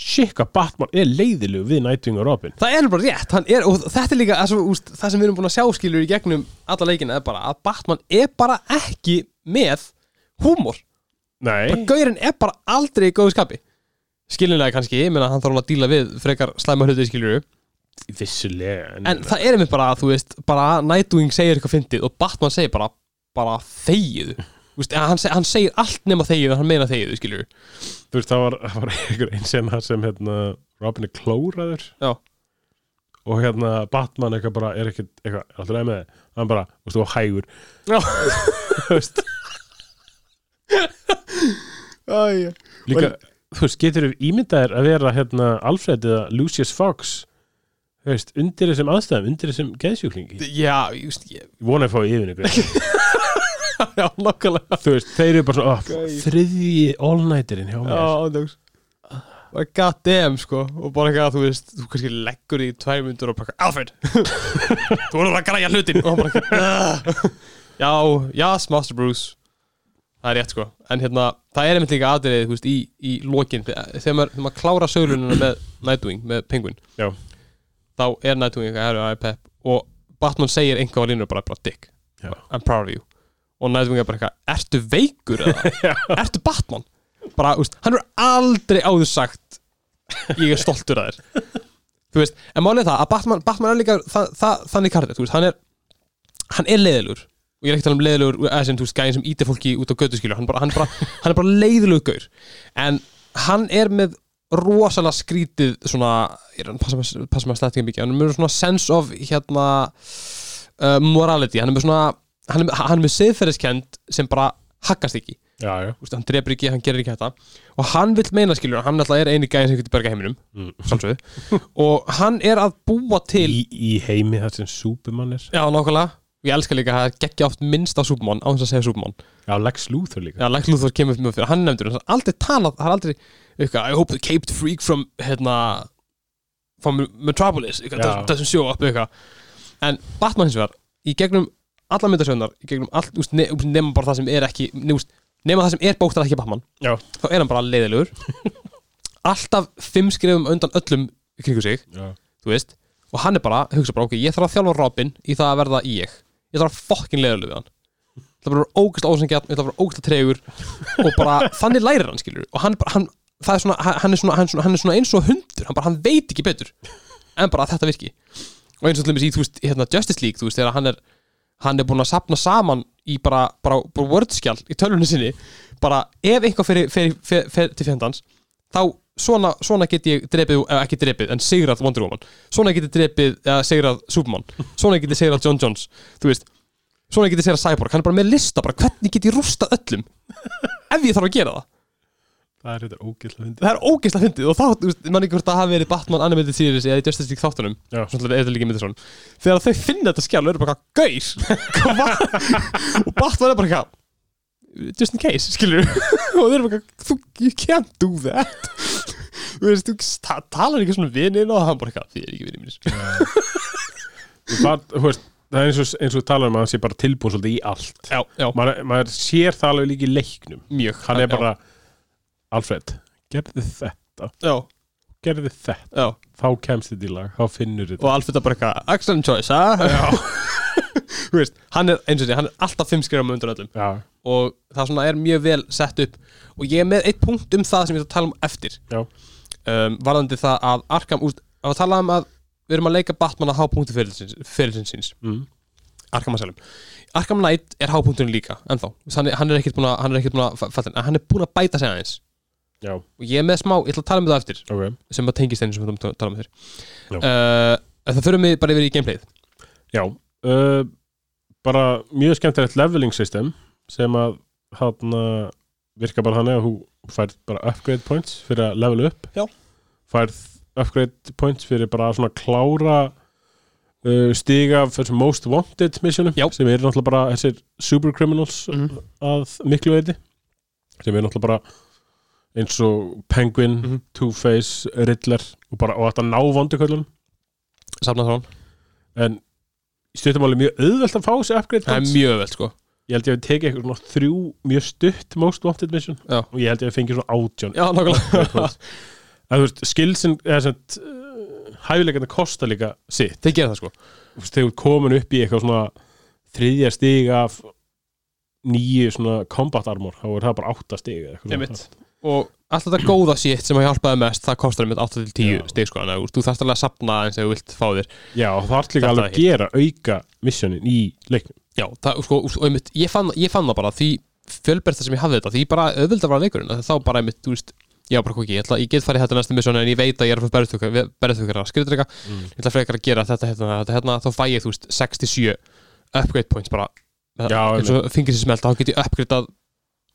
S2: shit hvað Batman er leiðilegu við Nightwing og Robin
S1: Það er bara rétt, hann er, og þetta er líka það sem, úst, það sem við erum búin að sjá skilur í gegnum alla leikina er bara að Batman er bara ekki með húmor bara
S2: nei,
S1: Gaurinn er bara aldrei í góðu skapi Skilinlega kannski, ég meina hann þarf alveg að díla við frekar slæma hluti skilur
S2: vissulega en,
S1: En það er einmitt bara að þú veist bara Nightwing segir eitthvað fyndið og Batman segir bara bara þegiðu Þú veist, hann, seg, hann segir allt nema þegiðu en hann meina þegiðu skilur
S2: þú veist, það var, það var einhver einsena sem hérna, Robin er klóraður
S1: Já.
S2: og hérna Batman eitthvað bara er ekkert eitthvað, er alltaf leið með þig? hann bara, þú veist, þú var hægur
S1: Já
S2: þú veist
S1: Æja
S2: Líka, þú veist, getur við ímyndaðir að vera hérna Alfred eða Lucius Fox þú veist, undir þessum aðstæðum, undir þessum geðsjúklingi.
S1: Já, just, ég,
S2: Ég vona að fá yfir ykkur.
S1: já, nokkulega
S2: þú veist, þeir eru bara svona oh,
S1: Gæi.
S2: þriðji all-nighterinn hjá mér
S1: Já, ándjóks God damn, sko Og bara eitthvað að þú veist, þú kannski leggur í tvær myndur og bara, Alfred Þú voru að græja hlutin Og hann bara, "Ugh." Já, yes, Master Bruce Það er rétt, sko En hérna, það er einmitt líka aðrið, þú veist, í, í lokin Þegar þegar maður, þegar maður klára sölunina með Nightwing, með Penguin
S2: Já.
S1: Þá er Nightwing eitthvað, herru, æ, pepp Og Batman segir einhvað á línu bara, bara, dick
S2: Já.
S1: I'm proud of you Og Nightwing er bara eitthvað, ertu veikur eða? ertu Batman? bara, úst, hann er aldrei áður sagt ég er stoltur að þér þú veist, en málið er það að Batman, Batman er líka það, það, þannig kardir, þú veist, hann er hann er leiðilegur og ég er ekki að tala um leiðilegur eða sem, þú veist, gæðin sem ítir fólki út á götu skilur hann, bara, hann, er bara, hann er bara leiðilegur gaur en hann er með rosalega skrítið svona, ég er að passa maður, passa maður slættinga mikið, hann er með svona sense of hérna uh, morality, hann er með svona hann er, með- hann er með siðferðiskend sem bara haggast ekki
S2: já, já,
S1: Úst, hann drefur ekki, hann gerir ekki þetta og hann vill meina skilur, hann alltaf er eini gæðin sem getur berga heiminum,
S2: Mm.
S1: sjálfsögðu og hann er að búa til
S2: Í, í heimi þar sem Superman er
S1: já, nákvæmlega, ég elska líka að það geggja oft minnst á Superman, á hans að segja Superman
S2: já, Lex Luthor líka
S1: já, Lex Luthor kemur mjög fyrir, hann nefndur hann hann aldrei talað, hann aldrei eitthvað, I hope the caped freak from hérna, from Metropolis eitthvað,
S2: Já.
S1: doesn't- doesn't show up eitthvað en Batman hins vegar, í gegnum alla myndasögnar, í gegnum allt úst, ne, úst, nema bara það sem er ekki ne, úst, nema það sem er bókstað ekki Batman
S2: Já.
S1: þá er hann bara leiðilegur alltaf fimm skrifum undan öllum í kringu sig
S2: já,
S1: þú veist og hann er bara, hugsa bara, ok, ég þarf að þjálfa Robin í það að verða í ég ég þarf að fokkin leiðalöf við hann ég þarf bara að vera ógæst ósengjarn, ég þarf að vera ógæst tregur og bara, þannig lærir hann, skilur og hann, bara, hann, það er svona, hann er svona, hann er svona, hann er svona eins og hundur, hann bara, hann veit ekki betur en bara að þetta virki og eins og til dæmis í, þú veist, hérna Justice League, þú veist, þegar hann er hann er búin að sapna saman í bara, bara, bara wordskjál í tölunni sinni bara, ef einhver fyrir, fyrir, fyrir, fyrir til fjandans, þá svona, svona get ég drepið, eða ekki drepið, en sigrað Wonder Woman, svona get ég drepið eða sigrað Superman, svona get ég sigrað John Jones, þú veist svona get ég sigrað Cyborg, hann er bara með lista bara, hvernig get ég rústað öllum ef ég þarf að gera það,
S2: það er þetta ógætla hundi
S1: það er ógeisla fyndið og þá, þú veist, mann ekki hvort það hafi verið Batman animated series eða í Justice League þáttunum
S2: já,
S1: svona til að eða líka myndir svona þegar þau finna þetta skjál og eru bara eitthvað gaur Hva? og Batman er bara eitthvað just in case, skilur og þeir eru bara eitthvað, "Þú- you can't do that þú veist, þú ta talar ekki svona vinnin og hann bara eitthvað, þið er ekki vinnin mínir
S2: það, þú veist, það er eins og, eins og tala um að hann sé bara tilbúin svolítið í allt
S1: já, já,
S2: maður, maður sér það alveg líka í leiknum
S1: mjög
S2: hann er bara, Alfred gerði þetta,
S1: já,
S2: gerði þetta
S1: já,
S2: þá kemst þetta í lag, þá finnur
S1: og
S2: þetta
S1: Alfred er bara eitthvað excellent choice, ha? þú veist, hann er, eins og því, hann er alltaf fimm skrifum undan öllum
S2: já,
S1: og það svona er mjög vel sett upp og ég er með eitt punkt um það sem ég ætla að tala um eftir
S2: já,
S1: um, varðandi það að Arkham úst, að tala um að við erum að leika Batman að hápunktu fyrirlsins síns
S2: mm.
S1: Arkham Asylum Arkham Knight er hápunkturinn líka ennþá hann er, hann er ekkert búin að hann er ekkert búin að falla en hann er búin að bæta sig aðeins
S2: já,
S1: og ég er með smá ég ætla að tala um það eftir
S2: ok
S1: sem að tengist einu sem við ætlum að tala um þér
S2: Já.
S1: uh, en það fyrir mig bara yfir í gameplayð
S2: Já, uh, bara mjög skemmtilegt leveling system sem að hann virka bara þannig að þú færð bara upgrade points fyrir að level upp
S1: Já.
S2: færð upgrade points fyrir bara að svona klára uh, stiga af þessum most wanted missionum
S1: Já.
S2: sem eru náttúrulega bara þessir super criminals
S1: Mhm.
S2: að miklu veiti sem eru náttúrulega bara eins og Penguin,
S1: Mhm.
S2: Two-Face, Riddler og bara og þetta ná vonduköllunum
S1: safnað þrón
S2: en í stuttumáli er mjög auðvelt að fá þessi upgrade
S1: það er
S2: points
S1: mjög vel sko
S2: ég held ég að tekið eitthvað svona þrjú mjög stutt most wanted mission
S1: Já.
S2: og ég held ég að fengi svona átjón
S1: já nokkulega
S2: upgrade points. en þú veist, skilsin eða sem uh, hæfileikana kosta líka sitt
S1: þeir gera það sko
S2: Þú veist, þegar þú ert komin upp í eitthvað svona þriðja stig af nýju svona combat armor þá er það bara átta stig eða eitthvað svona.
S1: Einmitt. og allt þetta góða shit sem að hjálpaði mest það kostar einmitt 8 til 10
S2: Já.
S1: stig sko þannig að, þú veist, þú þarfst alveg að safna eins og þú vilt fá þér
S2: já, og það er líka
S1: Þetta
S2: alveg að gera auka missionin í leiknum
S1: Já, það, sko, og einmitt, ég fann, ég fann það bara því fjölbersta sem ég hafði þetta, því bara auðvitað var leikurinn, að þá bara einmitt, þú veist já, bara hvað ekki, ég, ætla, ég get farið í þetta næstu misjón en ég veit að ég er að fara berðtökara skriðdreika,
S2: Mm.
S1: ég ætla frekar að gera þetta hérna, þetta hérna, þá fæ ég, þú veist, 67 upgrade points bara
S2: Já,
S1: eins og fingir sér smelta, þá get ég upgradeað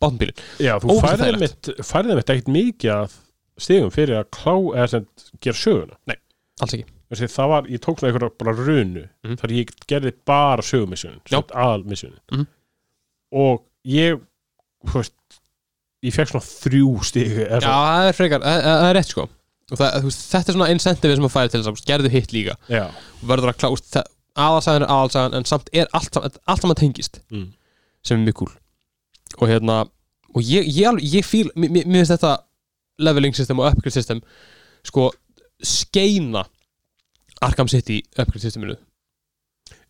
S1: bátnbílinn,
S2: já, þú
S1: Ógeðslega
S2: færðið
S1: þægilegt.
S2: mitt færðið mitt ekkert mikið að stigum fyrir að klá eða sem sagt gera söguna
S1: alls ekki
S2: Þessi, það var, ég tók svona einhverja bara runu
S1: Mhm.
S2: þar ég gerði bara sögumissunin
S1: Já.
S2: aðalmissunin
S1: Mhm.
S2: og ég þú veist, ég fekk svona þrjú stig eða
S1: Já,
S2: svona.
S1: það er frekar, það það er rétt sko og það, þú veist, þetta er svona incentive sem að færi til þess að þú veist, gerðu hitt líka
S2: Já.
S1: og verður að klást aðalsagan er aðalsagan en samt er allt saman, allt saman tengist
S2: Mm.
S1: sem er mjög cool og hérna, og ég, ég, alveg- ég fíl mér, mér mér finnst þetta leveling system og upgrade system sko skeina Arkham City upgrade systeminu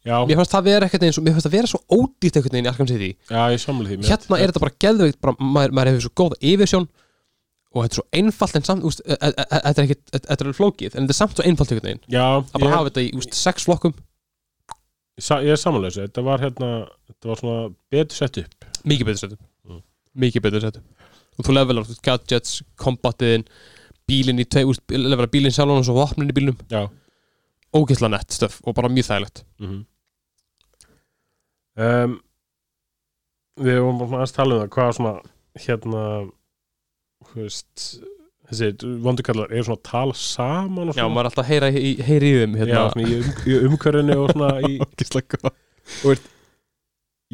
S2: Já,
S1: mér fannst það vera ekkert eins og mér fannst það vera svo ódýrt ekkert einn í Arkham City
S2: já, ég samla því
S1: hérna er þetta bara geðveikt bara, maður, maður hefur svo góða yfirsjón og þetta er svo einfalt en samt úst, e- e- e- þetta er ekki, þetta er alveg flókið en þetta er samt svo einfalt einhvern veginn
S2: Já,
S1: að bara
S2: ég,
S1: hafa þetta í úst, sex flokkum
S2: sa, ég er samla þessu Þetta var hérna, þetta var svona betur sett upp
S1: mikið betur settum
S2: Mm.
S1: mikið betur settum og þú levelar þú veist, gadgets, kombatiðin bílinn í tvei, úst, levelar bílinn sjálf og svo vopnin í bílnum,
S2: Já
S1: ógeðslega nett stöf og bara mjög þægilegt
S2: -hmm. um, Við vorum bara svona aðeins tala um það hvað svona hérna þú veist þessi vondukallar eru svona að tala saman og
S1: já,
S2: svona,
S1: maður er alltaf að heyra í, í- heyra í þeim
S2: já,
S1: hérna.
S2: svona í, um, í umkörinu og svona í,
S1: ógeðslega góð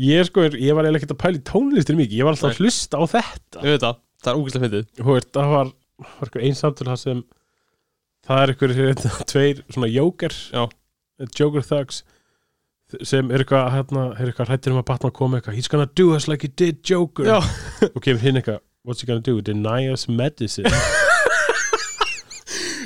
S2: ég sko, er- ég var eiginlega ekkert að pæla í tónlistir mikið, ég var alltaf að hlusta á þetta
S1: ég veit það, það er ógeðslega myndið
S2: þú veist, það var, var einhver einsamtul það sem það er einhver hérna, tveir svona jóker
S1: Já.
S2: joker thugs sem er eitthvað, hérna, er eitthvað hrættir um að Batman komi eitthvað, he's gonna do us like he did Joker
S1: Já.
S2: og kemur hinn eitthvað what's he gonna do, deny us medicine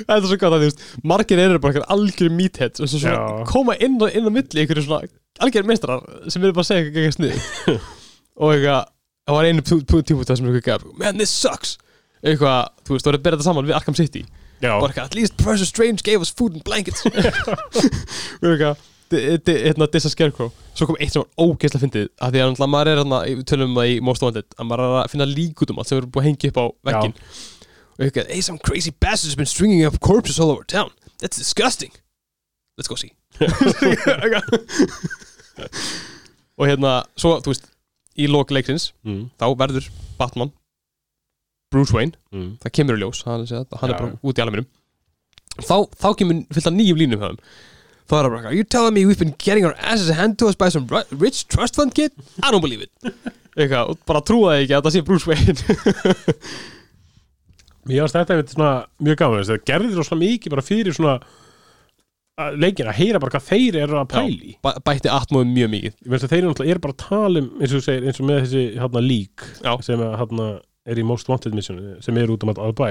S1: Það er svo gott að þú veist, margir eru bara einhver algjör meatheads og svo svona
S2: Já.
S1: koma inn á, inn á milli einhverju svona algjör meistrar sem eru bara að segja eitthvað gegn sniði og eitthvað, það var einu tímut það sem eitthvað gaf, man this sucks eitthvað, þú veist, þú voru að bera þetta saman við Arkham City
S2: já,
S1: bara eitthvað, at least Professor Strange gave us food and blankets og eitthvað di- di- hérna, Dissa Scarecrow svo kom eitt sem var ógeðslega fyndið að því að náttúrulega maður er hérna, við tölum um það í Most Wanted að maður er að finna líkut um allt sem eru búið að hengja upp á veggin og eitthvað, hey some crazy bastard has been stringing up corpses all over town that's disgusting let's go see Eitthvað. og hérna, svo, þú veist í lok leiksins,
S2: mm,
S1: þá verður Batman Bruce Wayne
S2: mm,
S1: það kemur í ljós hann, sé að- hann er
S2: Já.
S1: bara út í alamirum þá, þá kemur fullt af nýjum línum höfum þá er það bara eitthvað, you telling me we've been getting our asses handed to us by some ri- rich trust fund kid I don't believe it eitthvað, og bara trúaði ekki að það sé Bruce Wayne
S2: ég ást þetta er svona mjög gaman þess að það gerði þetta svona mikið bara fyrir svona að- leikinn að heyra bara hvað þeir eru að pæli
S1: Bæ, bætti atmóðum mjög mikið
S2: ég veist að þeir eru náttúrulega er bara að tala um eins og þú segir, eins og með þessi hérna lík
S1: Já.
S2: sem að, hérna, er í Most Wanted Mission sem eru út um alltaf bæ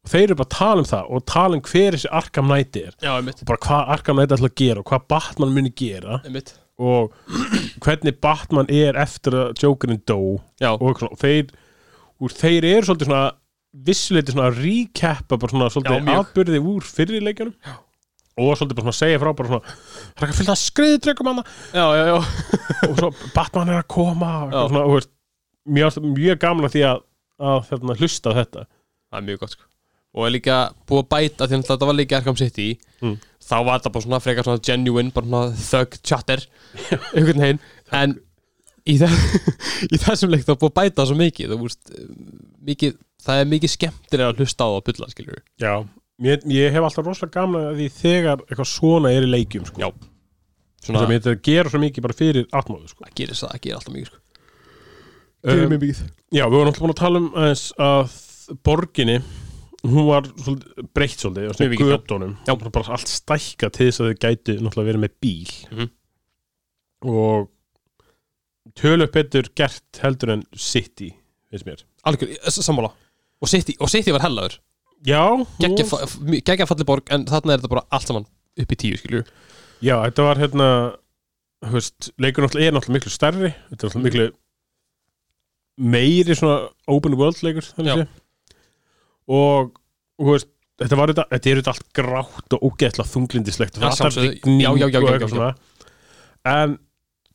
S2: og þeir eru bara að tala um það og tala um hver þessi Arkham Knight er
S1: já, einmitt,
S2: og bara hvað Arkham Knight ætla að gera og hvað Batman muni gera
S1: einmitt.
S2: og hvernig Batman er eftir að Jokerinn dó og
S1: Já,
S2: eitthvað svona, og þeir, úr, þeir eru svolítið svona vissuleiti svona að recappa bara svona
S1: Já,
S2: svolítið
S1: mjög.
S2: afbyrði úr fyrirleikjunum og svolítið bara svona að segja frá bara svona, það er ekki fyllt að skriði dregum hana
S1: já, já, já.
S2: og svo Batman er að koma og
S1: Já.
S2: eitthvað svona, og veist, mjög, ást- mjög gamla því að, að þarna, hlusta á þetta
S1: það er mjög gott sko. og er líka búið að bæta því að þetta var líka Arkham City
S2: Mm.
S1: þá var þetta bara svona frekar svona genuine bara svona thug chatter einhvern veginn en í, þe í þessum leik þá er búið að bæta svo mikið, þú veist, eh, mikið það er mikið skemmtilega að hlusta á það og bulla skiljur við
S2: já, ég, ég hef alltaf rosalega gamla því þegar eitthvað svona er í leikjum sko.
S1: Já.
S2: svona,
S1: svona,
S2: þetta gerir svo mikið bara fyrir atmóðu sko.
S1: það gerir, það- það gerir alltaf mikið sko.
S2: um,
S1: mjög mikið
S2: já, við vorum alltaf búin að tala um aðeins að borginni hún var svolítið, breytt svolítið og svona
S1: Mjög
S2: í
S1: mikið, já.
S2: gödunum
S1: Já.
S2: bara allt stækka til þess að þið gæti náttúrulega verið með bíl
S1: Mhm.
S2: og tölöf betur gert heldur en City, finnst mér
S1: algjör, eh, s- sammála og City, og City var hellaður
S2: Já,
S1: geggja
S2: hún-
S1: fa- f- mjög- geggja falli borg en þarna er þetta bara allt saman upp í tíu skiljur
S2: já þetta var hérna þú veist, leikur náttúrulega er náttúrulega miklu stærri
S1: Mm.
S2: þetta er náttúrulega miklu meiri svona open world leikur
S1: Já.
S2: þannig sé. og þú veist, þetta var þetta, þetta er þetta allt grátt og ógeðslega þunglindislegt og
S1: Já,
S2: það er alltaf
S1: sjálfsögðu.
S2: rigning
S1: Já, já, já,
S2: og
S1: já, já,
S2: eitthvað
S1: já.
S2: svona. en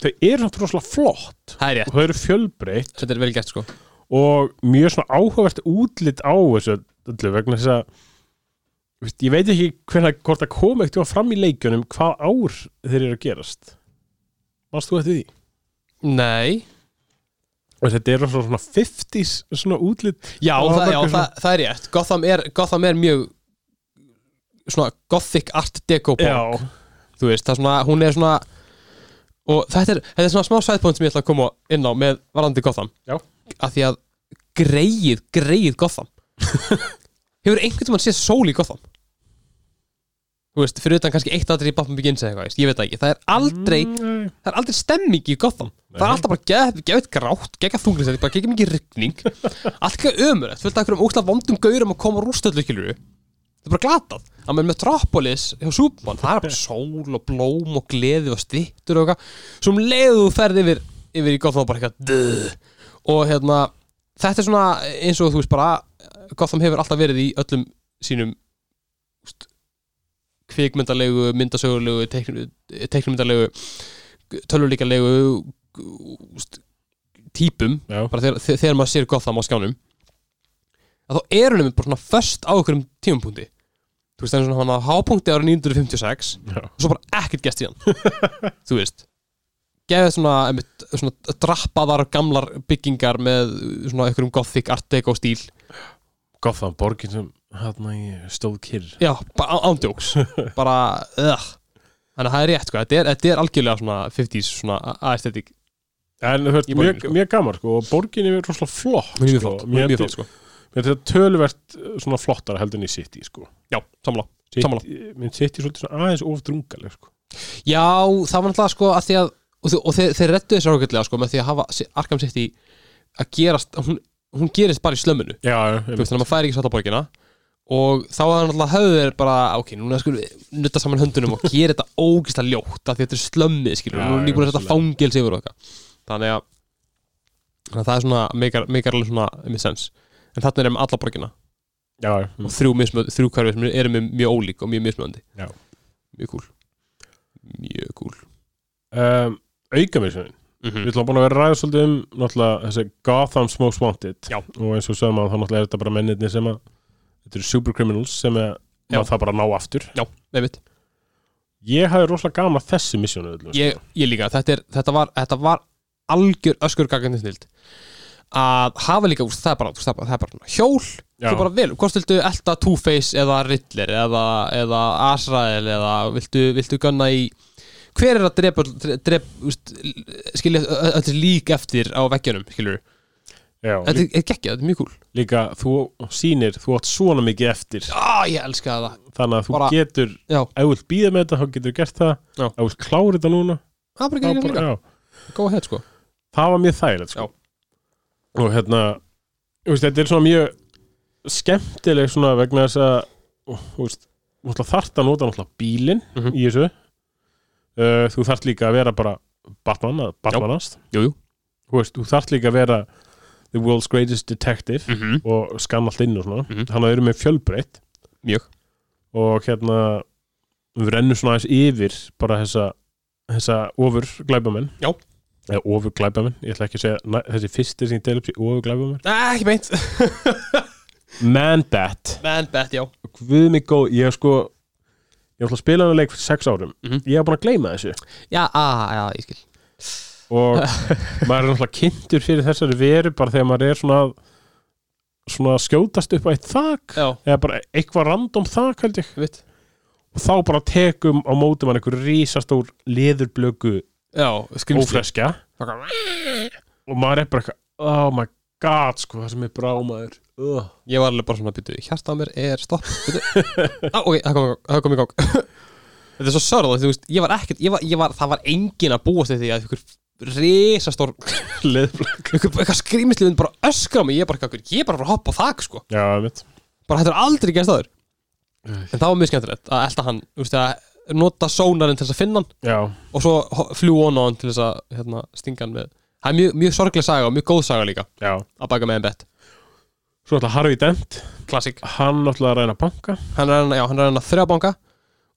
S2: þau eru samt rosalega flott
S1: það er rétt,
S2: og þau eru fjölbreytt
S1: þetta er vel gert sko
S2: og mjög svona áhugavert útlit á þessu öllu vegna þess að þú veist, ég veit ekki hvernig hvort það kom eitthvað fram í leikjunum hvað ár þeir eru að gerast varst þú eftir því?
S1: nei,
S2: og þetta eru svona svona 50s svona útlit
S1: Já,
S2: Og
S1: það,
S2: það
S1: já
S2: var
S1: það, það er rétt Gotham er, Gotham er mjög svona gothic art deco borg,
S2: já,
S1: þú veist, það er svona hún er svona og þetta er, þetta er svona smá sæðpunkt sem ég ætla að koma inn á með varandi Gotham
S2: Já.
S1: að því að greið, greið Gotham hefur einhvern tímann séð sól í Gotham þú veist, fyrir utan kannski eitt aðrið í Batman Begins eða eitthvað, veist, ég veit það ekki það er
S2: Mm.
S1: aldrei,
S2: Nei.
S1: það er aldrei stemming í Gotham það
S2: Nei.
S1: er alltaf bara geð- geðveikt grátt, gegga þunglisæti bara gegga mikið rigning allt ekki ömur, þú veit að einhverjum ósla vondum gaurum að koma rústöldu kilur það er bara glatað, að með Metropolis hjá Superman, það er bara sól og blóm og gleði og stittur og eitthvað svo um leiðu þú ferð yfir, yfir í Gotham og bara eitthvað döð og hérna, þetta er svona eins og þú veist bara, Gotham hefur alltaf verið í öllum sínum úst, kvikmyndalegu myndasögulegu, teikn- teiknumyndalegu tölvuleikalegu úst, típum
S2: Já,
S1: bara þegar, þe- þegar maður sér Gotham á skjánum að þá eru nefnir bara svona föst á okkur um tímapunkti þú veist, það er svona hann að hápunkti ára 956
S2: já,
S1: og svo bara ekkert gæst í hann þú veist gefið svona, einmitt, svona drappaðar gamlar byggingar með svona einhverjum gothic art deco stíl
S2: Gotham, borgin sem hérna í stóð kyrr
S1: já, bara á- ándjóks bara, ögh þannig að það er rétt, sko, þetta er, þetta er algjörlega svona 50s svona aesthetic
S2: En þú veist,
S1: Í borginni,
S2: mjög,
S1: sko.
S2: mjög gaman sko og borgin er rosalega flott
S1: mjög
S2: sko.
S1: flott,
S2: Mér
S1: mjög
S2: finnst-
S1: flott, sko
S2: mér finnst þetta töluvert uh, svona flottara heldur en í City sko
S1: já, sammála Sammála.
S2: City, minn City er svolítið svona aðeins ofdrungaleg sko
S1: Já, það var náttúrulega sko að því að og, þe- og þeir, þeir rettu þessu ágætlega sko með því að hafa si- Arkham City að gerast hún, hún gerist bara í slömminu
S2: Já,
S1: þú veist, þannig að maður færi ekki sátt á borgina og þá var náttúrulega höfðu þeir bara ok, núna skulum við nutta saman höndunum og gera þetta ógislega ljótt af því að þetta er slömmið skilur,
S2: Já,
S1: nú er nýbúin að
S2: já,
S1: setja fangils yfir og eitthvað þannig að, þannig að það er svona meikar, meikar alveg svona með sens en þarna erum alla borgina
S2: já, já,
S1: og þrjú, mismöð, þrjú hverfi sem eru mjög- mjög ólík og mjög mismöndi
S2: Já.
S1: mjög cool mjög cool
S2: um, auka mér sem
S1: Mhm.
S2: við ætlum búin að vera að ræða svolítið um náttúrulega þessi Gotham Smokes Wanted
S1: Já.
S2: og eins og sögum að þá náttúrulega er þetta bara mennirni sem að þetta eru supercriminals sem að
S1: Já.
S2: maður það bara að ná aftur
S1: einmitt
S2: ég hafi rosalega gaman af þessi missjónu öllum
S1: ég, ég líka, þetta, er, þetta, var, þetta var algjör öskur gagandi snild að hafa líka, úst, það er bara, úst, það er bara, það er bara svona hjól,
S2: Já.
S1: þú bara vel, hvort viltu elta Two-Face eða Riddler eða, eða Azrael eða viltu, viltu gunna í hver er að drepa, öll- drep, úst, skilja ö- öll lík eftir á veggjunum, skilur
S2: Já,
S1: þetta er- er gekkja, þetta er mjög cool
S2: líka þú sýnir, þú átt svona mikið eftir
S1: ah, ég elska það,
S2: þannig að þú
S1: Bara-
S2: getur,
S1: já,
S2: ef þú vilt býða með þetta þá getur þú gert það,
S1: Já.
S2: ef þú vilt klára þetta núna
S1: það er bara
S2: þá
S1: gekkja
S2: bara,
S1: líka,
S2: já,
S1: góða hér sko
S2: það var mjög þægilegt sko.
S1: Já.
S2: og hérna þú veist, þetta er svona mjög skemmtileg svona vegna þess að ó, þú veist, náttúrulega þarft að nota náttúrulega bílinn
S1: Mhm.
S2: í þessu uh, þú þarft líka að vera bara Batman, að Batmanast
S1: Jú, jú.
S2: þú veist, þú þarft líka að vera the world's greatest detective
S1: mm -hmm.
S2: og skanna allt inn og svona
S1: Mhm.
S2: þannig að þau eru með fjölbreytt
S1: mjög,
S2: og hérna við rennum svona aðeins yfir bara þessa, þessa ofur glæbamenn
S1: Já.
S2: eða ofur glæbamenn, ég ætla ekki að segja næ, þessi fyrsti sem ég deil upp sér ofur glæbamenn
S1: ah, ekki meint
S2: Man-Bat,
S1: menn bett, já
S2: við mig góð ég hef sko, ég ætla að spila hann leik fyrir sex árum,
S1: Mhm.
S2: ég hef búin að gleyma þessu
S1: já, ah, já, ég skil
S2: og maður er náttúrulega kynntur fyrir þessari veru bara þegar maður er svona að- svona að skjótast upp á eitt þak
S1: já,
S2: eða bara eitthvað random þak held ég
S1: mitt
S2: og þá bara tekum á móti mann einhver rísastór leðurblöku
S1: Já, skrimsli
S2: ófreskja og maður er bara eitthvað oh my god sko það sem er brá maður uh.
S1: Ég var alveg bara svona býtu, hjarta á mér er stopp býtu. Á, Ah, ok, það kom, í gang, það kom í gang Þetta er svo sörð þú veist, ég var ekkert, ég var, ég var, það var engin að búast við því að ykkur risastór
S2: leðurblöku
S1: ykkur, eitthvað skrýmisli myndi bara öskra á mig, ég bara, ykkur, ég er bara að fara að hoppa á þak, sko
S2: já mitt
S1: bara þetta er aldrei gæst aður
S2: Nei.
S1: En það var mjög skemmtilegt að elta hann, þú veist, að nota sónarinn til þess að finna hann
S2: já
S1: og svo ho- fljú on á hann til þess að hérna, stinga hann með Það er mjög, mjög sorgleg saga og mjög góð saga líka
S2: já
S1: að baka með en bett,
S2: svo alltaf Harvey Dent
S1: klassik
S2: hann alltaf að reyna að banka
S1: hann er hann, já, hann er hann að þrjá banka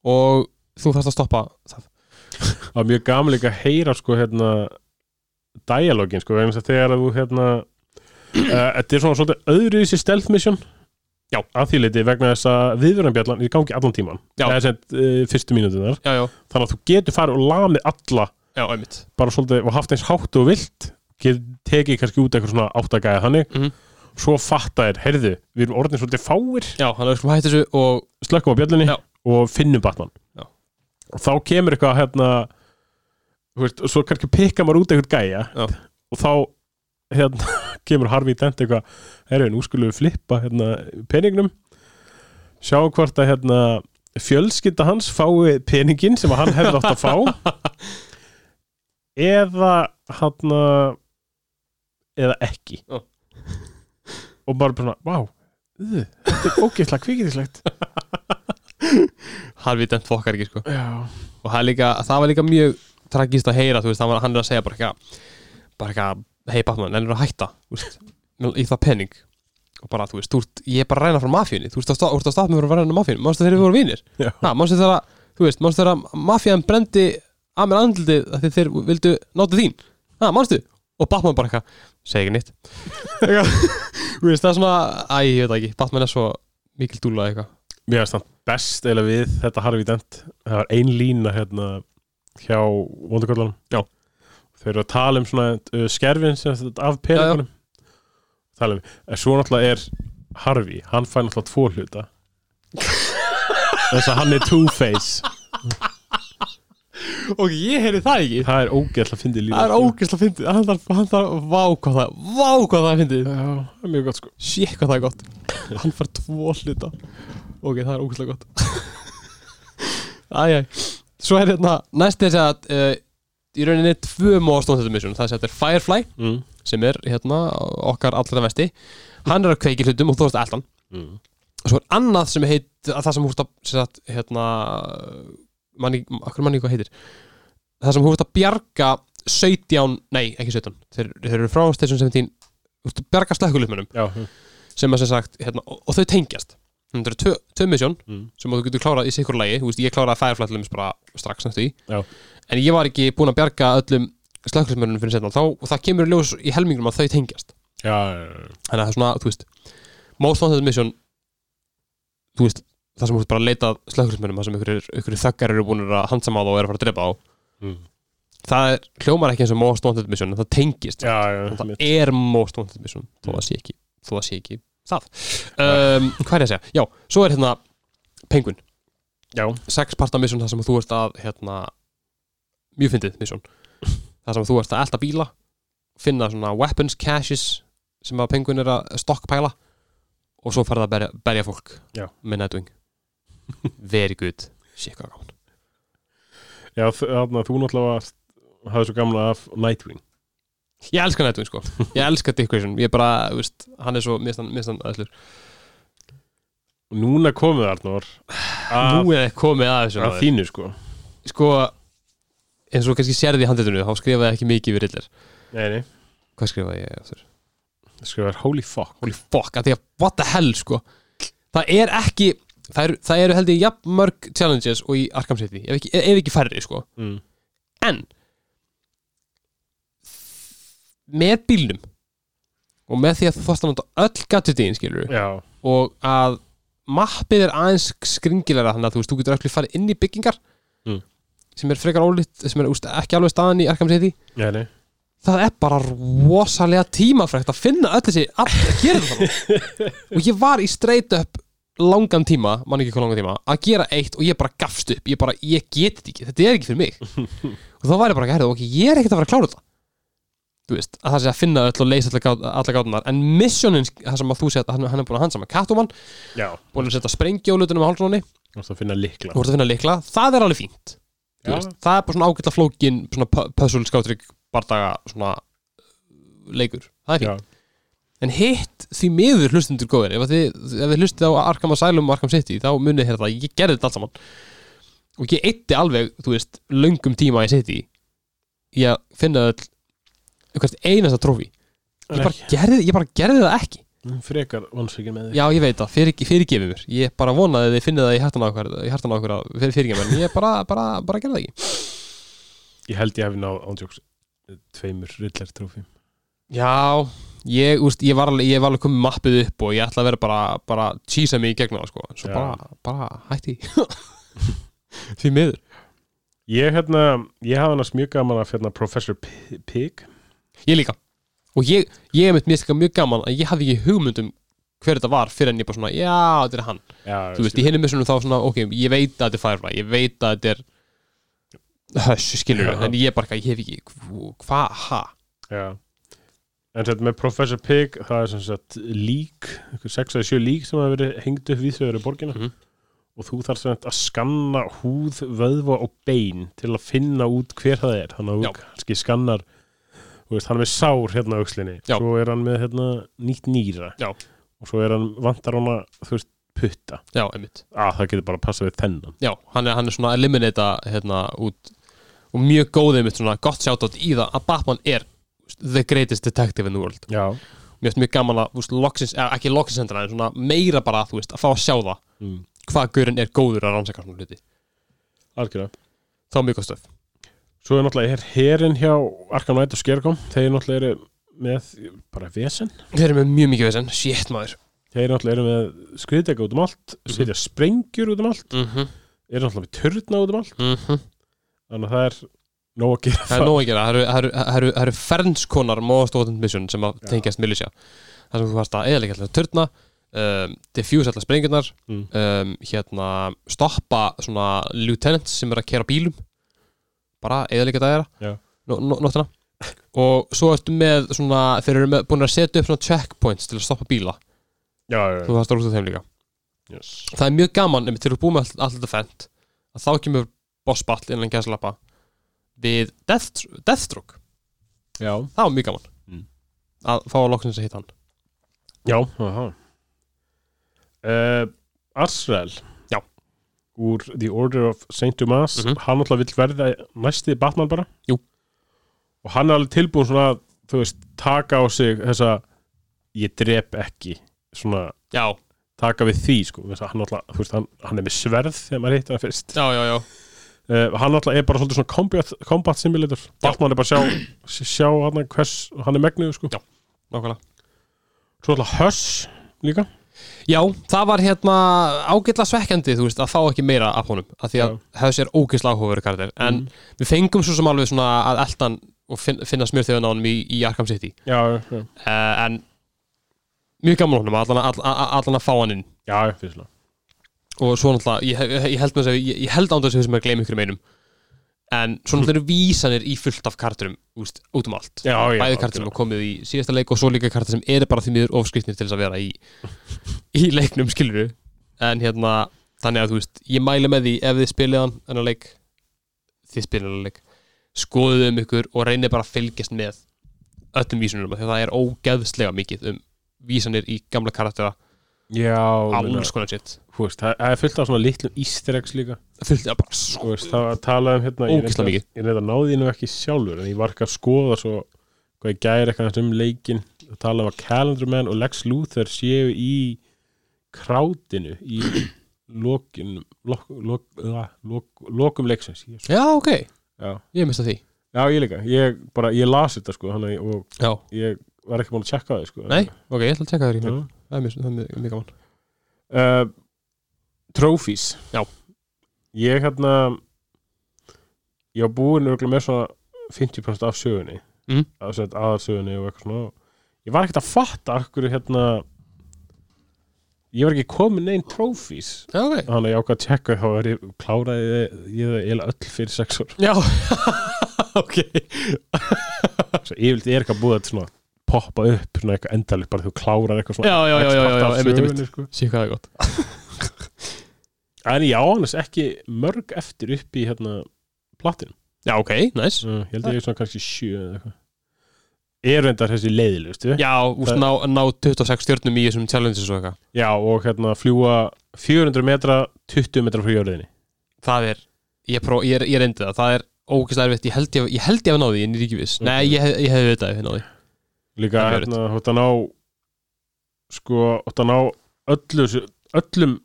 S1: og þú þarfst að stoppa það
S2: það er mjög gaman líka að heyra sko hérna dialogin sko vegna þess að þegar þú hérna uh, þetta er svona svolítið öðru þessi stealth mission
S1: Já.
S2: að því leiti vegna þess að viðverðanbjallan í gangi allan tíman
S1: Já.
S2: það er sent uh, fyrstu mínútunar
S1: já, já,
S2: þannig að þú getur farið og lamið alla
S1: já, einmitt
S2: bara svolítið og haft eins hátt og vilt getur tekið kannski út eitthvað svona áttagæða þannig
S1: Mhm.
S2: svo fatta þér, heyrðu, við erum orðin svolítið fáir
S1: já, hann er sko hætti þessu og
S2: slökkum á bjöllunni
S1: Já.
S2: og finnum Batman
S1: Já.
S2: og þá kemur eitthvað hérna þú veist, og svo kannski pikka maður út eitthvað gæja
S1: Já.
S2: og þá hérna, kemur Harvey Dent eitthvað herru, nú skulum við flippa hérna, peningnum sjá hvort að hérna, fjölskylda hans fái peningin sem að hann hefði átt að fá eða hérna eða ekki
S1: Já.
S2: og bara bara, vá uh, þetta er ógeðslega kvikiðislegt
S1: Harfi dent fokkar ekki sko
S2: já,
S1: og það, er líka, það var líka mjög tragist að heyra þú veist, hann, var, hann er að segja bara eitthvað bara eitthvað, hei Batman, ennur að hætta þú veist, í það penning og bara, þú veist, þú ert, ég er bara að ræna frá mafíunni þú veist, þú ert að stoppa mér frá að ræna mafíunni mannstu þegar við vorum vinir
S2: já,
S1: ha, mannstu þegar, að, þú veist, mannstu þegar að mafían brendi að mér andlitið af því þeir vildu náta þín, ha, mannstu og Batman bara eitthvað, segi ekki nýtt eitthvað, þú veist, það er svona æ, ég veit það ekki, Batman er svo mikil dúla eitthvað
S2: Mér finnst það best eða við þetta Harvey Dent Það var ein lína hérna hjá Vondakallanum
S1: Já.
S2: Þeir eru að tala um svona uh, skerfin sem þetta af peningunum Tala um, en svo náttúrulega er Harvey, hann fær náttúrulega tvo hluta Þess að hann er Two-Face
S1: og ég heyri það ekki
S2: Það er ógæll að fyndi lína
S1: Það er
S2: sko.
S1: ógeðslega fyndið, hann þarf, hann þarf, vá hvað það, vá hvað það er fyndið
S2: Já, það er mjög gott sko
S1: Sér hvað það er gott, hann fær tvo hluta Ok, það er ógeðslega gott Æjæ, svo er hérna, næst er að uh, Í rauninni tvö móðstón þetta mission, það er að þetta er Firefly
S2: mm.
S1: Sem er hérna okkar allra vesti Hann er að kveiki hlutum og þú veist eldan
S2: Mm.
S1: Og svo er annað sem heit, að það sem húrst að, sem sagt, hérna Manni, akkur manni hvað heitir Það sem húrst að bjarga 17, nei ekki 17 Þeir, þeir eru frá station 17 Þú ert að bjarga slökkulufmönum
S2: Já, mm.
S1: sem að sem sagt, hérna, og, og þau tengjast þannig að það eru tvö- tvö misjón
S2: Mm.
S1: sem þú getur klárað í sikkur lagi, þú veist, ég kláraði Firefly til dæmis bara strax næstu í
S2: Já.
S1: en ég var ekki búin að bjarga öllum slökkulismörunum fyrir setna, þá, og það kemur í ljós í helmingnum að þau tengjast,
S2: já, já,
S1: þannig að það er svona, þú veist most wanted mission þú veist, það sem þú veist bara að leita slökkulismörunum, það sem ykkur, ykkur þöggar eru búin að handsama þá og eru að fara að drepa á
S2: já mm.
S1: það er, hljómar ekki eins og most wanted mission en það tengist
S2: Já, já,
S1: og
S2: mitt.
S1: það er most wanted mission þó
S2: Mm.
S1: það sé ekki, þó það sé ekki það um, hvað er ég að segja, já, svo er hérna pengun,
S2: já,
S1: sex parta mission þar sem þú ert að hérna, mjög fyndið mission þar sem þú ert að elta bíla finna svona weapons caches sem að pengun er að stokkpæla og svo farið að berja, berja fólk
S2: Já.
S1: með netwing very good, sé hvað gaman
S2: já þarna, þú náttúrulega varst- hafðir svo gamla af Nightwing
S1: ég elska netwing sko, ég elska Dick Grayson ég bara, þú veist, hann er svo mistan, mistan aðslur,
S2: og Núna komið Arnór að-
S1: nú er komið að þessu
S2: að
S1: maður.
S2: þínu sko
S1: sko eins og kannski sérði í handitinu þá skrifaði ég ekki mikið við rillir
S2: Nei, nei,
S1: hvað skrifaði ég aftur?
S2: það skrifar holy fuck
S1: holy fuck, að því að what the hell sko það er ekki það eru, það eru held ég jafn mörg challenges og í Arkham City, ef ekki, ef ekki færri sko
S2: mm.
S1: en með bílnum og með því að þú þarft að nota öll gadgetin skilur
S2: Já,
S1: og að mappið er aðeins skringilega þannig að þú veist, þú getur ekki farið inn í byggingar
S2: Mm.
S1: sem er frekar ólíkt sem er úst, ekki alveg staðan í Arkham City
S2: nei, nei
S1: það er bara rosalega tímafrækt að finna öll þessi að gera það og ég var í straight up langan tíma, mann ekki hvað langan tíma að gera eitt og ég bara gafst upp ég bara, ég get þetta ekki, þetta er ekki fyrir mig og þá var ég bara ekki, herðu, ok, ég er ekkert að fara að klára þetta þú veist, að það sé að finna öll og leysa alla gát- alla gátunar, en missionin það sem að þú sé að hann, hann er búin að hansa með Catwoman
S2: Já,
S1: búin að setja sprengjólutunum á hálfróni
S2: þú varst að finna likla
S1: þú ert að finna lykla, það er alveg fínt Þú
S2: Já.
S1: veist, það er bara svona ágætla flókin svona pu- puzzle skátrygg bardaga svona uh, leikur, það er fínt
S2: Já,
S1: en hitt því miður hlustundur góðir ef, að þið, ef þið hlustið á Arkham Asylum og Arkham City þá munið hérna það, ég gerði þetta allt saman og ég eitti alveg, þú veist löngum tíma í City í að finna öll einhvern einasta trófi ég
S2: Nei.
S1: bara, gerði, ég bara gerði það ekki
S2: Mm, frekar vansvíkir með þig
S1: Já, ég veit það, fyrir, fyrirgefið mér Ég bara vonaði að þið finnið það í hærtan á okkur í hjartanu á okkur að fyrir, fyrirgefið mér en Ég bara, bara, bara gerði það ekki
S2: Ég held ég hefði náð ándjóks Tveimur rillar trófi
S1: Já, ég, úst, ég, var alveg, ég var alveg komið mappið upp og ég ætla að vera bara, bara tísa mig í gegna það sko en Svo
S2: Já.
S1: bara, bara hætti því. Því miður
S2: Ég hérna, ég hafði annars mjög gaman af hérna, Professor P- Pig
S1: Ég líka Og ég, ég er mitt mjög, mjög gaman að ég hafði ekki hugmyndum hver þetta var fyrir en ég bara svona, já, þetta er hann
S2: Já,
S1: Þú veist, í hinum missunum þá svona, ok, ég veit að þetta er Firefly Ég veit að þetta er hössu skilur
S2: Já.
S1: en ég bara, ég hef ekki, hvað, ha
S2: Já. En sett með Professor Pig, það er sem sagt lík, einhver 6 eða 7 lík sem hafa verið hengt upp við þau í borginna
S1: Mhm.
S2: og þú þarf sem sagt að skanna húð, vöðva og bein til að finna út hver það er þannig að
S1: Já.
S2: þú kannski skannar þú veist, hann er með sár hérna á aukslinni
S1: Já.
S2: svo er hann með hérna nýtt nýra
S1: Já.
S2: og svo er hann, vantar hana þú veist, putta,
S1: já, einmitt,
S2: að það getur bara að passa við þennan
S1: já, hann er, hann er svona að eliminata hérna út og mjög góð einmitt svona gott sjátt í það að Batman er the greatest detective in the world
S2: Já,
S1: mér finnst mjög gaman að, þú veist, loksins, eða ekki loksins endur, en svona meira bara, þú veist, að fá að sjá það
S2: mm.
S1: hvað gaurinn er góður að rannsaka svona hluti
S2: algjörða
S1: þá er mjög góð stöf
S2: Svo er náttúrulega her herin hjá Arkham Knight og Skerkom, þeir náttúrulega eru með bara vesen
S1: þeir eru með mjög mikið veginn, shit maður
S2: Þeir náttúrulega eru með skriðdega út um allt,
S1: Mhm.
S2: setja sprengjur út um allt,
S1: mm -hmm.
S2: eru náttúrulega með turna út um allt,
S1: Mm
S2: þannig að það er nóg að gera
S1: það er nóg að gera, það eru- það eru- það eru- það eru fernskonar most wanted mission sem að
S2: Já.
S1: tengjast millisja það sem þú varst að eðalega alltaf törna um, diffuse allar sprengjurnar
S2: Mm.
S1: um, hérna, stoppa svona lieutenants sem er að kera bílum bara eðalega það
S2: Já.
S1: er nóttina og svo ertu með svona þeir eru með, búin að setja upp svona checkpoints til að stoppa bíla,
S2: Já, já, já.
S1: þú varst að rústa þeim líka
S2: Yes.
S1: það er mjög gaman, ef til að búið með allt, allt þetta fent að þá kemur boss battle innan gæslappa við Death, Deathstroke
S2: Já.
S1: það var mjög gaman
S2: Mm.
S1: að fá að loksins að hitta hann
S2: Já, aha. Uh, Arsrael.
S1: Já.
S2: Úr The Order of St. Dumas,
S1: Mhm.
S2: hann náttúrulega vill verða næsti Batman bara.
S1: Jú.
S2: Og hann er alveg tilbúin svona, að, þú veist, taka á sig þessa, ég drep ekki, svona
S1: já,
S2: taka við því sko, Þess að hann, alltaf, veist, hann, hann er með sverð þegar maður hittir hann fyrst
S1: já, já, já,
S2: uh, hann alltaf er bara svolítið svona combat, combat simulator Batman er bara að sjá, sjá hann hvers hann er megnuð sko.
S1: Já. nákvæmlega
S2: svo alltaf Huss líka
S1: já, það var hérna ágætla svekkjandi, þú veist, að fá ekki meira af honum, af því að
S2: Já.
S1: hefði sér ógæsla áhugaveru karakter, en við fengum svo sem alveg svona að eldan og fin finna smjörþjóðan á honum í, í Arkham City
S2: já, já,
S1: uh, en mjög gaman honum, allan, að- að- allan að fá hann inn
S2: já, já, fyrstulega
S1: og svo náttúrulega, ég, ég- ég held með þess að ég, ég held án þess að sem að gleyma ykkur einum en svo náttúrulega eru vísanir í fullt af karturum úst, út um allt
S2: Já, já,
S1: bæði
S2: algjörlega.
S1: karturum og komið í síðasta leik og svo líka kartur sem eru bara því miður ofskriftnir til þess að vera í, í leiknum skiluru en hérna, þannig að þú veist ég mæli með því ef þið spilið hann þennan leik, þið spilið hann leik skoðuð um ykkur og reynið bara að fylgjast með öllum vísunum þegar það er ógeðslega mikið um vísanir í gamla karaktera
S2: já, meina,
S1: alls konar sitt
S2: þú veist, það það er fullt af svona litlum easter eggs líka
S1: fullt af bara
S2: Þú
S1: svo
S2: veist, það var að tala um hérna ég
S1: Ógeðslega
S2: reyndar-
S1: mikið.
S2: ég reyndar náði þínu ekki sjálfur en ég var ekki að skoða svo hvað ég gæri eitthvað um leikin og tala um að Calendar Man og Lex Luthor séu í krátinu í lokin lok, lok, lok, lok, lokum leiksins ég,
S1: já, ok,
S2: já.
S1: ég mista því
S2: já, ég líka, ég bara, ég las þetta sko hana, og
S1: já,
S2: ég var ekki búin að tjekka það sko
S1: nei, ok, ég ætla að tjekka þér í
S2: Já.
S1: mér það er mjög- það er mjög mjög gaman
S2: uh, trófís
S1: Já.
S2: ég hérna ég var búin örgulega með svona 50% af sögunni
S1: Mm.
S2: að setja aðarsögunni og eitthvað svona ég var ekkert að fatta af hverju hérna ég var ekki komin neinn trófís
S1: já, ok
S2: þannig að ég ákvað að tjekka þá var ég kláraði ég, ég það eiginlega öll fyrir sex ára
S1: já, ok
S2: svo yfirleitt er eitthvað búið að svona poppa upp svona eitthvað endalegt bara þú klárar eitthvað svona
S1: já, já, já, já, já,
S2: 50%
S1: já,
S2: af
S1: einmitt, einmitt
S2: sögunni, sko.
S1: sé hvað það er gott
S2: en ég á annars ekki mörg eftir upp í hérna platin
S1: já, ok, nice
S2: Já, ég held að ég er svona kannski sjö eða eitthvað er reyndar þessi leiðilustu
S1: já, úst,
S2: Það-
S1: ná, ná 26 stjórnum í þessum challenges og eitthvað
S2: já og hérna fljúa 400 metra 20 metra frá jörðinni
S1: það er, ég, pró, ég, er- ég reyndi það það er ógeðslega erfitt, ég held ég, ég held ég að náði, ég er ekki viss,
S2: Ok.
S1: nei, ég, hef- ég hefði vitað ef ég náði,
S2: líka
S1: Það er
S2: hérna hótt að ná sko hótt að ná öllu, þessu- öllum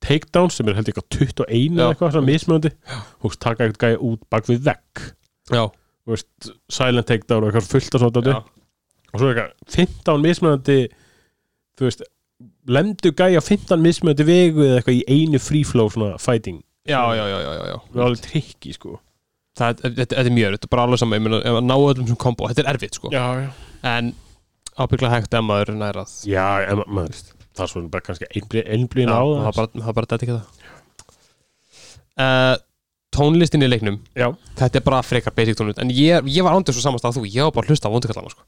S2: takedowns sem er held ég eitthvað 21
S1: Já.
S2: eða eitthvað svona mismöndi húst taka eitthvað gæja út bak við vekk
S1: já,
S2: veist, silent takedown og eitthvað fullt af svona dæti
S1: já.
S2: og svo eitthvað 15 mismöndi þú veist lemdu gæja á 15 mismöndi vegu eða eitthvað í einu free flow svona fighting
S1: Já, já, já, já, já, já.
S2: það er alveg trikki sko
S1: Það, þetta, þetta er mjög erfitt, bara alveg saman, ég meina, ef að ná öllum sem kombo, þetta er erfitt, sko.
S2: já, já.
S1: En ábygglega hægt ef maður er nærað.
S2: já en, ma- maður, það er svona bara kannski einblíðin á
S1: það
S2: það
S1: bara, það bara dæti ekki það uh, tónlistin í leiknum
S2: Já,
S1: þetta er bara frekar basic tónlist en ég, ég var ándur svo samast að þú, ég var bara að hlusta á vondukallana sko.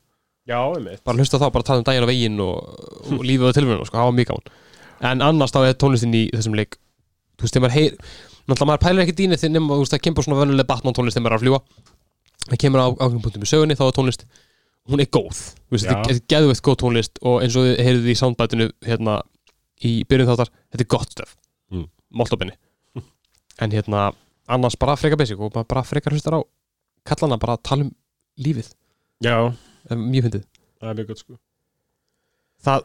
S2: já, einmitt
S1: bara að hlusta á þá, bara að tala um daginn á veginn og, og lífið á tilvörinu, sko, það var mjög gaman en annars þá er tónlistin í þessum leik þú veist, þegar maður heyr náttúrulega maður pælir ekki dýni þegar nema, þú veist, það kemur bara svona vönuleg Batman tónlist þegar maður er að fljúa það kemur á ákveðum punktum í sögunni, þá er tónlist hún er góð, þú veist,
S2: Já.
S1: þetta er geðveitt góð tónlist og eins og þið heyrðuð í soundbætinu hérna, í byrjun þáttar, þetta er gott stöf
S2: Mm.
S1: Máltopinni. en hérna, annars bara frekar basic og maður bara frekar hlustar á kallana bara að tala um lífið,
S2: Já,
S1: Eh, mjög fyndið
S2: það er mjög gott sko
S1: það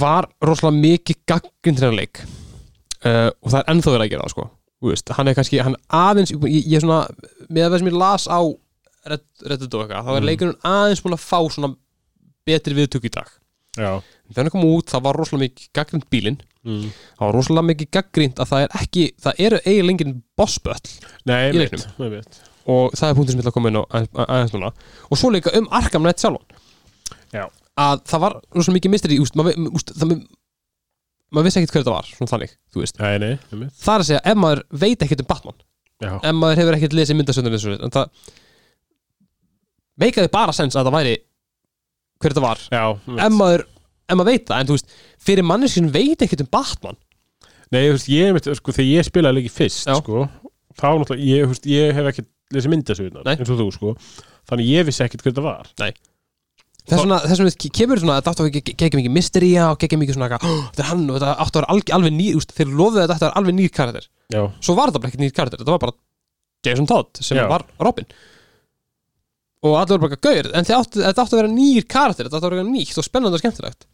S1: var rosalega mikið gaggindræðanleik uh, og það er ennþá verið að gera það sko Þú veist, hann er kannski, hann aðeins ég, ég er svona, með að það sem ég las á Reddit Reddit og eitthvað, þá er
S2: Mm.
S1: leikurinn aðeins búin að fá svona betri viðtök í dag
S2: Já,
S1: þegar hann kom út, það var rosalega mikið gaggrind bílinn
S2: mm.
S1: það var rosalega mikið gaggrind að það er ekki það eru eiginlega engin bossböll
S2: nei,
S1: Í
S2: einmitt,
S1: leiknum.
S2: einmitt
S1: og það er punktur sem ég ætla að koma inn á aðeins- aðeins núna og svo líka um Arkham Knight sjálfan
S2: Já.
S1: að það var rosalega mikið mystery úst, maður, vi- úst, það, maður vissi ekkert hver þetta var svona þannig, þú veist
S2: Nei, nei, einmitt
S1: það er að segja, ef maður veit ekkert um Batman
S2: Já,
S1: ef maður hefur ekkert lesið myndasöndur eins og þetta en það meikaði bara sens að það væri hver þetta var
S2: já
S1: ef
S2: einmitt.
S1: maður, ef maður veit það, en þú veist fyrir manni sem veit ekkert um Batman
S2: Nei, þú veist, ég einmitt, sko, þegar ég spilaði leiki fyrst,
S1: Já.
S2: sko Þá náttúrulega, ég, þú veist, ég hef ekkert lesið myndasögurnar,
S1: Nei.
S2: eins og þú, sko Þannig ég vissi ekkert hvernig það var
S1: þess vegna, þess vegna ke- kemur svona þetta átt að gegja mikið mystería og gegja mikið svona eitthvað, "Hó, þetta er hann og þetta átt að vera alg, alveg nýr úst, þeir lofuðu að þetta er alveg nýr karakter
S2: Já,
S1: svo var þetta bara ekkert nýr karakter, þetta var bara Jason Todd sem
S2: Já.
S1: var Robin og allir voru bara eitthvað, gauður en þetta átti, þetta átti að vera nýr karakter þetta átti að vera eitthvað nýtt og spennandi og skemmtilegt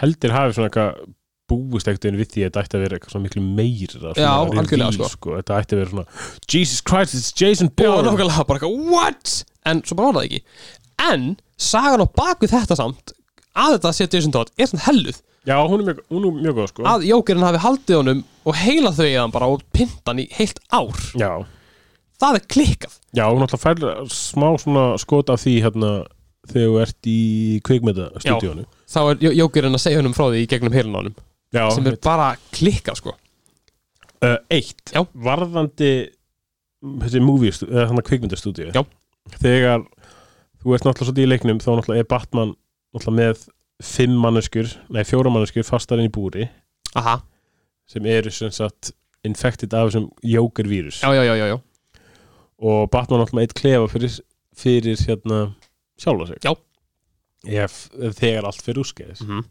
S2: heldur hafi svona eitthvað búist ekkert einu við því að þetta ætti að vera eitthvað svona miklu meira svona
S1: Já,
S2: reveal,
S1: algjörlega, sko.
S2: Þetta ætti að vera svona Jesus Christ, it's Jason
S1: og
S2: Bourne
S1: nákvæmlega bara eitthvað, what? en svo bara var það ekki en sagan á baku þetta samt að þetta sé Jason Todd er svona helluð
S2: Já, hún er mjög, hún er mjög góð sko
S1: að jókerinn hafi haldið honum og heila þau eðan bara og pinta hann í heilt ár
S2: Já,
S1: það er klikkað
S2: já, hún alltaf fær smá svona skot af því hérna þegar þú ert í kvikmyndastúdíónu
S1: þá er Jó- Jókerinn að segja honum frá því í gegnum heilin á honum
S2: Já,
S1: sem er bara klikkað sko
S2: uh, eitt
S1: Já.
S2: Varðandi þessi movie, stu- eða þannig kvikmyndastúdíu
S1: Já.
S2: Þegar þú ert náttúrulega svolítið í leiknum þá náttúrulega er Batman náttúrulega með fimm manneskur, nei fjóra manneskur fastar inn í búri
S1: Aha,
S2: sem eru sem sagt infected af þessum jókervírus
S1: já, já, já, já, já.
S2: og Batman alltaf með eitt klefa fyrir, fyrir hérna sjálfa sig
S1: Já.
S2: ef, ef þegar allt fyrir úskeiðis
S1: Mm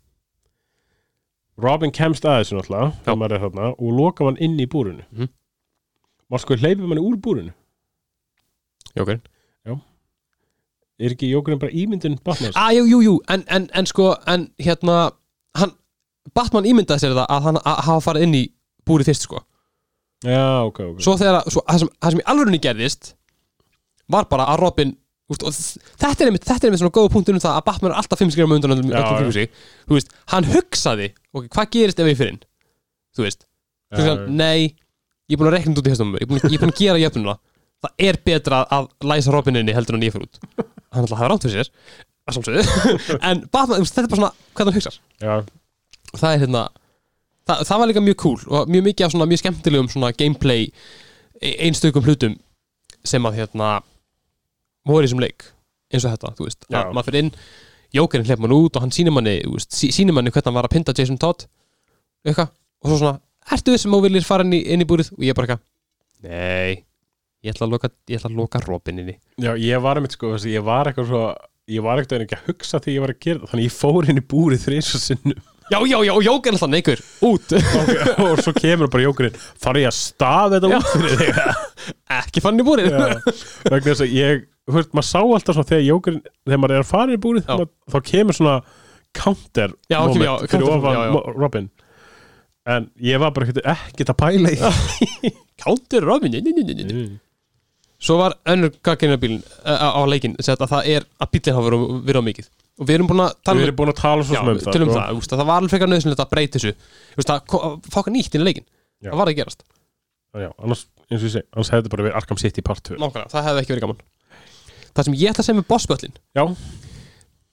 S2: Robin kemst að þessu náttúrulega
S1: Já.
S2: þegar maður er þarna og loka hann inn í búrinu
S1: Mhm.
S2: maður sko hleypir manni úr búrinu
S1: Jókerinn
S2: er ekki jókurinn bara ímyndin Batman
S1: ah, Jú, jú, jú, en, en, en sko en hérna, hann Batman ímyndaði sér það að hann að hafa farið inn í búrið fyrst sko
S2: já ok ok
S1: svo þegar, að- svo, það, sem, það sem í alvörunni gerðist var bara að Robin úst, og þ- þetta er einmitt, þetta er einmitt svona góða punktur um það að Batman er alltaf fimm skræma undan öllum
S2: Já,
S1: öllum kringum sig þú veist, hann hugsaði ok, hvað gerist ef ég fyrir inn þú veist,
S2: Já,
S1: þú veist,
S2: já.
S1: nei ég er búin að reikna þetta út í hestum ég er búin, ég er búin að gera jöfnuna það er betra að læsa Robin inni heldur en ég fyrir út hann ætla að hafa rátt fyrir sér að sjálfsögðu. en Batman, þú veist, þetta er bara svona hvað hann hugsar
S2: já,
S1: og það er hérna það, það var líka mjög cool og mjög mikið af svona mjög skemmtilegum svona gameplay e- einstökum hlutum sem að hérna voru í þessum leik eins og þetta, þú veist
S2: Já.
S1: að maður fyrir inn, jókerinn hleyp mann út og hann sýnir manni, þú veist, sí, sýnir manni hvernig hann var að pinda Jason Todd eitthvað, og svo svona, ertu þessum og viljir fara inn í, inn í búrið og ég bara eitthvað, nei ég ætla að loka, ég ætla að loka robininni
S2: já ég var einmitt sko þessi, ég var eitthvað svo ég var eitthvað ekki að hugsa því ég var að gera það þannig ég fór inn í búrið þrýs og sinnum
S1: já, já, já, og jókerinn alltaf neikur, út
S2: Ok, og svo kemur bara jókurinn þarf ég að staða þetta út fyrir þig
S1: ekki fann í búrið
S2: Já. vegna þess að ég þú veist, maður sá alltaf svona þegar jókurinn þegar maður er að fara í búrið
S1: Já.
S2: maður, þá kemur svona counter
S1: Já, ok,
S2: moment
S1: já,
S2: fyrir
S1: counter-
S2: ofan
S1: já, já.
S2: Mo- Robin en ég var bara ekkert ekkert að pæla í því.
S1: counter robininni
S2: Mm.
S1: Svo var önnur gagginna bílinn uh, á leikin að það er að bílinn hafa verið of- verið á mikið og við erum búin að tala um
S2: við erum búin að tala svo
S1: já,
S2: sem um það,
S1: tölum
S2: sko.
S1: það, úst, að það var alveg frekar nöðsynlegt að breyta þessu úst, að, ko- að fá okkar nýtt inn í leikin
S2: Já.
S1: það var að gerast,
S2: Já, annars, eins og ég segi, annars hefði þetta bara verið Arkham City part 2
S1: nákvæmlega, það hefði ekki verið gaman Það sem ég ætla að segja með bossböllin
S2: já,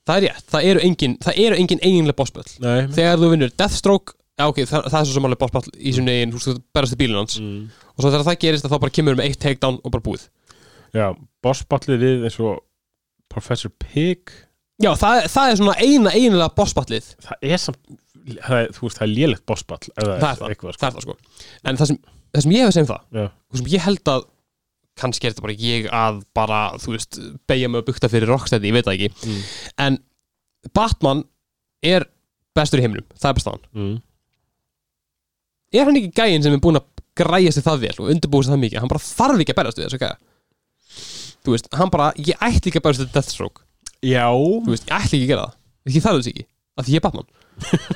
S1: það er rétt, það eru engin, það eru engin eiginlega bossböll
S2: nei
S1: þegar þú vinnur Deathstroke já, ok, það, það er svo sem alveg bossböll í sinni eigin, þú veist, þú berast í bílinn hans
S2: Mm.
S1: og svo þegar það gerist að þá bara kemur við með eitt takedown og bara búið
S2: Já, bossballið við eins og Professor Pig
S1: Já, það, það er svona eina einilega bossballið
S2: Það er samt, það er, þú veist, það er lélegt bossball ef það,
S1: það er það,
S2: eitthvað, sko.
S1: það er það sko en það sem, það sem ég hef að segja um það
S2: Já.
S1: og sem ég held að kannski er þetta bara ég að bara, þú veist, beigja mig að bukta fyrir Rocksteady, ég veit það ekki
S2: Mm.
S1: en Batman er bestur í heiminum, það er bara staðan
S2: Mm.
S1: er hann ekki gæinn sem er búinn að græja sér það vel og undirbúið sér það mikið, hann bara þarf ekki að berjast við þessu gæja þú veist, hann bara, ég ætti ekki að berjast við Deathstroke
S2: Já,
S1: þú veist, ég ætti ekki að gera það ég þarf þess ekki, af því ég er Batman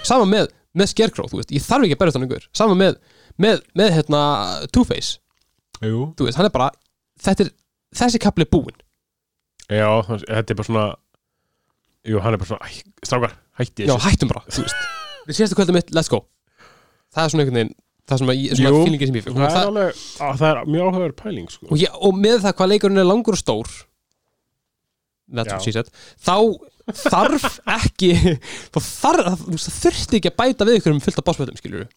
S1: sama með, með Scarecrow, þú veist, ég þarf ekki að berjast hann yngur sama með, með, með hérna, Two-Face,
S2: jú
S1: þú veist, hann er bara þetta er, þessi kapli er búinn
S2: Já, það- þetta er bara svona Jú, hann er bara svona, æ, strákar, hætti
S1: já,
S2: þessu
S1: hættum bara, þú veist við séstu kvöldum mitt, let's go það er svona einhvern veginn, það er svona, ég- svona
S2: Jú.
S1: fílingin sem ég fikk
S2: það,
S1: og,
S2: er
S1: það,
S2: alveg, á, það er mjög áhugaður pæling sko.
S1: og, ég, og með það hvað leikurinn er langur og stór that's what
S2: Já.
S1: she said þá þarf ekki þá þarf, þú veist, það þurfti ekki að bæta við ykkur um fullt af bossfjöldum, skiljur í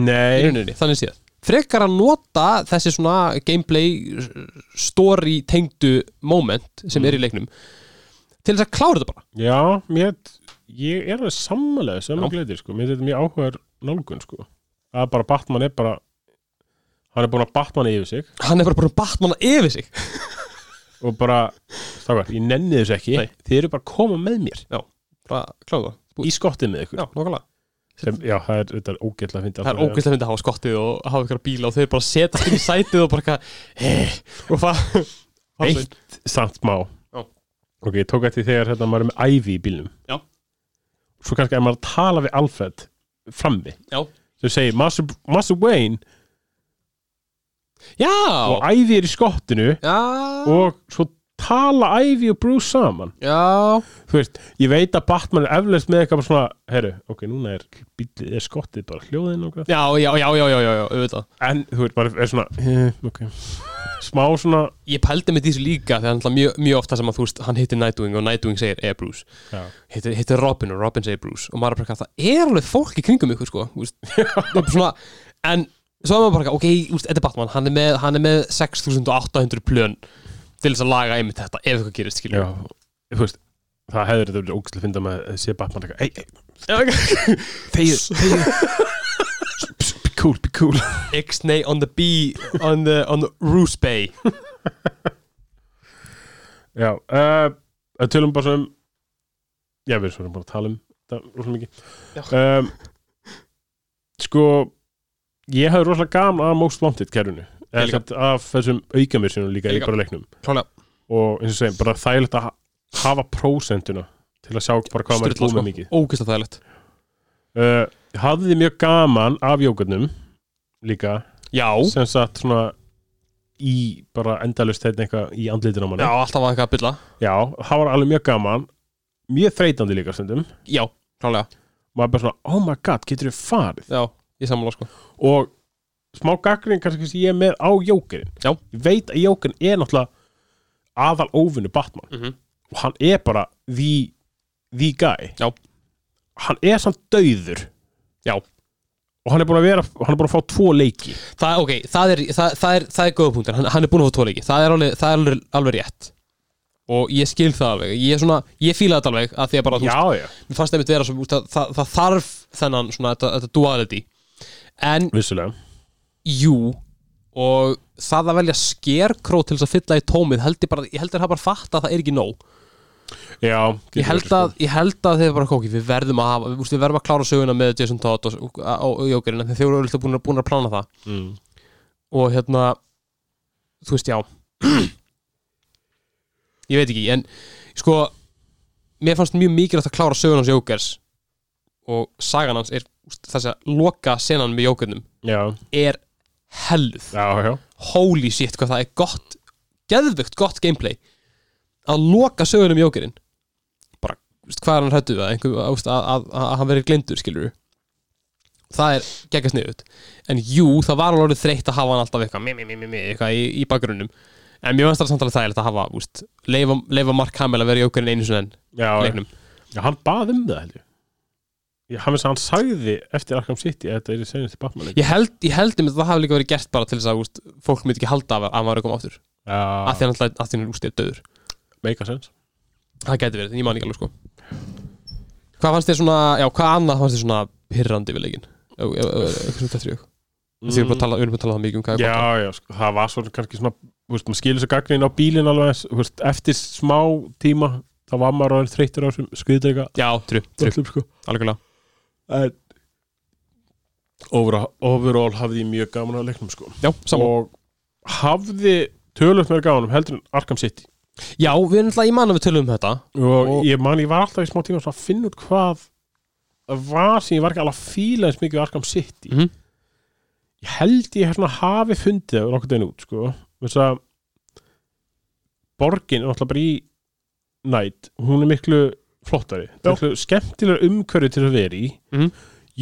S2: Nei,
S1: rauninni, þannig séð frekar að nota þessi svona gameplay story tengdu moment sem er í leiknum til þess að klára þetta bara
S2: já, mér ég er alveg sammálega sem
S1: Já.
S2: að gledir sko. mér finnst þetta mjög áhugaður nálgun sko. að bara Batman er bara hann er búin að Batman yfir sig
S1: hann er bara bara Batman að yfir sig
S2: og bara, strákar, ég nenni þessu ekki
S1: Nei.
S2: þið eru bara að koma með mér
S1: bara klára það, búið
S2: í skottið með ykkur
S1: já, nokkulega
S2: sem, já, það er, þetta er ógeðlega að finna
S1: það er ógæslega myndið að hafa skottið og hafa ykkur bíla og þeir bara setast inn í sætið og bara eitthvað eh, og það
S2: eitt samt má
S1: Já.
S2: ok, ég tók eftir þegar hérna, maður er með ævi í bílnum
S1: Já.
S2: svo kannski ef maður tala við Alfred frammi
S1: Já.
S2: sem segir Master, Master Wayne
S1: já,
S2: og ævi er í skottinu
S1: já,
S2: og svo tala ævi og Bruce saman
S1: já
S2: þú veist, ég veit að Batman er eflaust með eitthvað bara svona, herru, ok, núna er, bíllinn- er skottið bara hljóðin og hvað
S1: já, já, já, já, já, já, já, auðvitað
S2: en þú veist, bara er svona eh, ok, smá svona
S1: ég pældi með þessu líka þegar hann mjög, mjög ofta sem að þú veist hann hittir Nightwing og Nightwing segir eh Bruce
S2: já,
S1: hittir, hittir Robin og Robin segir Bruce og maður er bara eitthvað, það er alveg fólk í kringum ykkur sko, þú veist. Það er bara svona, en svo er maður bara eitthvað, ok, þú veist, þetta er Batman hann er með, hann er með 6800 plön til þess að laga einmitt þetta ef eitthvað gerist,
S2: já
S1: skiljum
S2: þú veist, það hefur þetta verið ógæslega að finna með að sé Batman eitthvað, ei, ei,
S1: Þeir,
S2: be cool, be cool
S1: Ixnay on the bee on the, on the Roose Bay
S2: Já, uh, að tölum bara svona um Já, við erum svona bara að tala um þetta rosalega mikið um, Sko ég hafði rosalega gaman að Most Wanted kerfinu
S1: Ég líka.
S2: Eða af þessum aukamir sem líka
S1: Ég
S2: í
S1: líka.
S2: bara leiknum
S1: Klálega,
S2: og eins og segjum, bara þægilegt að ha- hafa prósentuna til að sjá bara hvað maður er
S1: styrla
S2: búið
S1: sko,
S2: með mikið
S1: ógæslega þægilegt
S2: uh, Hafði mjög gaman af jókarnum líka
S1: Já,
S2: sem satt svona í bara endalust þetta eitthvað í andlitin á manni
S1: já, alltaf var eitthvað að bylla
S2: Já, það var alveg mjög gaman mjög þreytandi líka stundum
S1: Já, klálega,
S2: maður bara svona, oh my god, getur við farið
S1: já, ég sammála sko
S2: og smá gaggrin kannski sem ég er með á jókerinn
S1: Já.
S2: ég veit að jókerinn er náttúrulega aðal óvinnu Batman
S1: mm -hmm.
S2: og hann er bara the, the guy
S1: Já.
S2: hann er samt döður
S1: Já.
S2: og hann er búin að vera, hann er búin að fá tvo leiki
S1: Það, ok, það er, það, það er, það er góða punktur, hann, hann er búin að fá tóleiki Það er alveg, það er alveg, alveg rétt Og ég skil það alveg, ég er svona, ég fíla þetta alveg að Því að bara, þú veist,
S2: já, já,
S1: mér fannst einmitt vera svo, þú veist, það, það, það þarf þennan svona, þetta, þetta duality En,
S2: vissulega
S1: jú, og það að velja skerkró til þess að fylla í tómið held ég bara, ég held að það bara fatta að það er ekki nóg
S2: já, sko.
S1: ég held að, ég held að þeir bara kóki við verðum að hafa, við, úst, við verðum að klára söguna með Jason Todd og, og, og Jókerinn þegar þeir eru auðvitað búin, búin að plana það
S2: mm.
S1: og hérna, þú veist já ég veit ekki, en sko mér fannst mjög mikilvægt að klára söguna hans Jókers og sagan hans er úst, þess að loka senan með Jókernum
S2: já,
S1: er helluð
S2: já, já,
S1: holy shit hvað það er gott geðvögt gott gameplay að loka sögunum jókerinn bara, veist, hvað er hann hrættu við að, einhver, að, að, að, að hann verið glindur skilur það er geggjast niður en jú, það var alveg orðið þreytt að hafa hann alltaf eitthvað, mi, mi, mi, mi, mi, eitthvað í, í bakgrunnum en mér finnst það samtalið þægilegt að hafa úst, leifa, leifa Mark Hamill að vera jókerinn einu sinni enn
S2: já,
S1: leiknum
S2: já hann bað um það held ég ég, hann, hann sagði eftir Arkham City að þetta er senjast til Batman
S1: Ég held, ég held um að það hafi líka verið gert bara til þess að úst, fólk myndi ekki halda af að maður er að koma áttur ah. að
S2: já,
S1: því hann alltaf að því hann er ústið döður
S2: make a sense
S1: Það gæti verið, en ég man ekki alveg sko Hvað fannst þér svona, já, hvað annað fannst þér svona pirrandi við leikin? Eitthvað sem þetta er Því við erum búin að tala, við erum búin að tala það mikið um hvað er gott.
S2: já, já, sko, það var svona kannski svona þú veist, maður skilur svo gagnin á bílinn alveg eins, þú veist, eftir smá tíma þá var maður orðin þreyttur á þessum skriðdreika
S1: Já, trú, trú,
S2: öllum, sko.
S1: algjörlega
S2: en overall, overall hafði ég mjög gaman að leiknum sko.
S1: Já, saman
S2: og hafði tölvöld mér gaman um heldur en Arkham City
S1: Já, við erum alltaf, ég man að við tölum um þetta
S2: og,
S1: Og-
S2: ég man, ég var alltaf í smá tíma svona að finna út hvað það var sem ég var ekki alveg að fíla eins mikið við Arkham City
S1: Mhm.
S2: ég held ég hérna hafi fundið það nokkuð einu út sko þess að borgin er náttúrulega bara í nætt, hún er miklu flottari,
S1: Já.
S2: miklu skemmtilega umhverju til að vera í
S1: Mhm.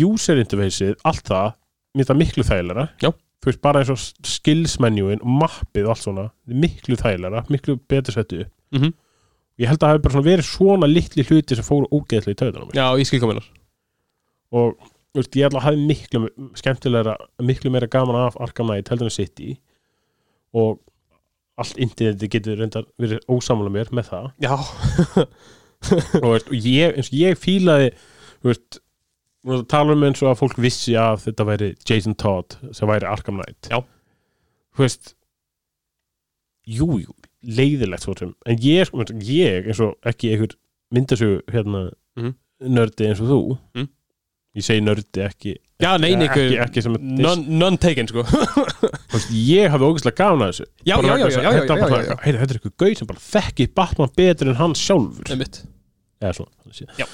S2: user interfaceið, allt það mér finnst það miklu þægilega
S1: Já.
S2: þú veist bara eins og skills menjúin og mappið og allt svona, miklu þægilega miklu betur settu upp
S1: Mhm.
S2: ég held að það hefur bara svona verið svona litli hluti sem fóru ógeðlega í töðunum
S1: Já, ég skil kominar
S2: og þú veist, ég ætla að hafi miklu skemmtilegra, miklu meira gaman af Arkham Knight heldur en City og allt interneti getur reyndar verið ósamlega mér með það
S1: Já,
S2: og, veist, og ég, eins og ég fílaði þú veist, nú erum við að tala um eins og að fólk vissi að þetta væri Jason Todd sem væri Arkham Knight
S1: Já.
S2: þú veist jújú, jú, leiðilegt svo sem en ég, sko, veist, ég eins og ekki einhver myndasögu hérna
S1: Mhm.
S2: nördi eins og þú
S1: Mhm.
S2: ég segi nördi ekki
S1: já, nein,
S2: ekki,
S1: ykkur
S2: ekki sem að-
S1: None none taken, sko
S2: Þú veist, ég hafði ógeðslega gaman að þessu
S1: Já,
S2: Bara
S1: já,
S2: vegna
S1: já,
S2: þess
S1: já,
S2: að
S1: já, já,
S2: þetta var
S1: já,
S2: bara
S1: já, já.
S2: eitthvað, "Heyrðu, þetta er eitthvað gauð sem bara þekki Batman betur en hann sjálfur
S1: Einmitt.
S2: eða svona, hann sé.
S1: Já.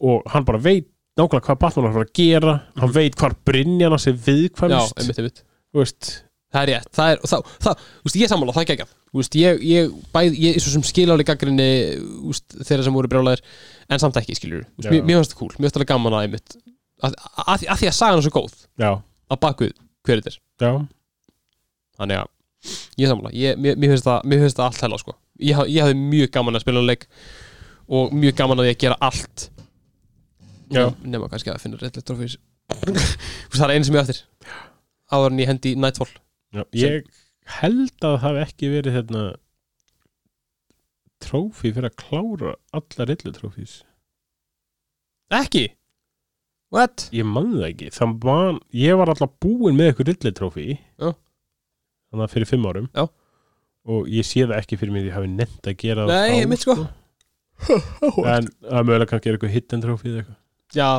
S2: og hann bara veit nákvæmlega hvað Batman er að fara að gera hann veit hvar Brynjan hans er
S1: Já,
S2: viðkvæmst
S1: einmitt, einmitt
S2: þú veist,
S1: Það er rétt, það er, og það, það, úst, ég er sammála, það er geggjað Úst, ég, ég, bæð, ég, svo sem skil áli gaggrinni, úst, þeirra sem voru brjálæðir En samt ekki, skilur úst,
S2: Já.
S1: mér, mér fannst það cool, mér fannst það gaman að einmitt að, að, að, að því að sagan er svo góð
S2: já,
S1: Að bakvið hver þetta er
S2: já
S1: Þannig að, ég er sammála, ég, mér, mér finnst það, mér finnst það allt hella, sko Ég, haf- ég hafði mjög gaman að spila um leik Og mjög gaman að ég gera allt
S2: Já.
S1: Nefna kannski að finna réttlega trófís Það er einu sem ég á eftir Áður en ég hendi í Nightfall
S2: já. ég held að það hafi ekki verið hérna trófi fyrir að klára alla rillu trófís
S1: Ekki? What?
S2: ég man það ekki, það man ég var alltaf búinn með eitthvað rillu trófi
S1: Já.
S2: þannig að fyrir fimm árum
S1: Já.
S2: og ég sé það ekki fyrir mér ég hafi nefnt að gera það
S1: Nei,
S2: þá,
S1: einmitt, sko.
S2: sko. en að mögulega kannski er eitthvað hidden trófið eitthvað
S1: Já,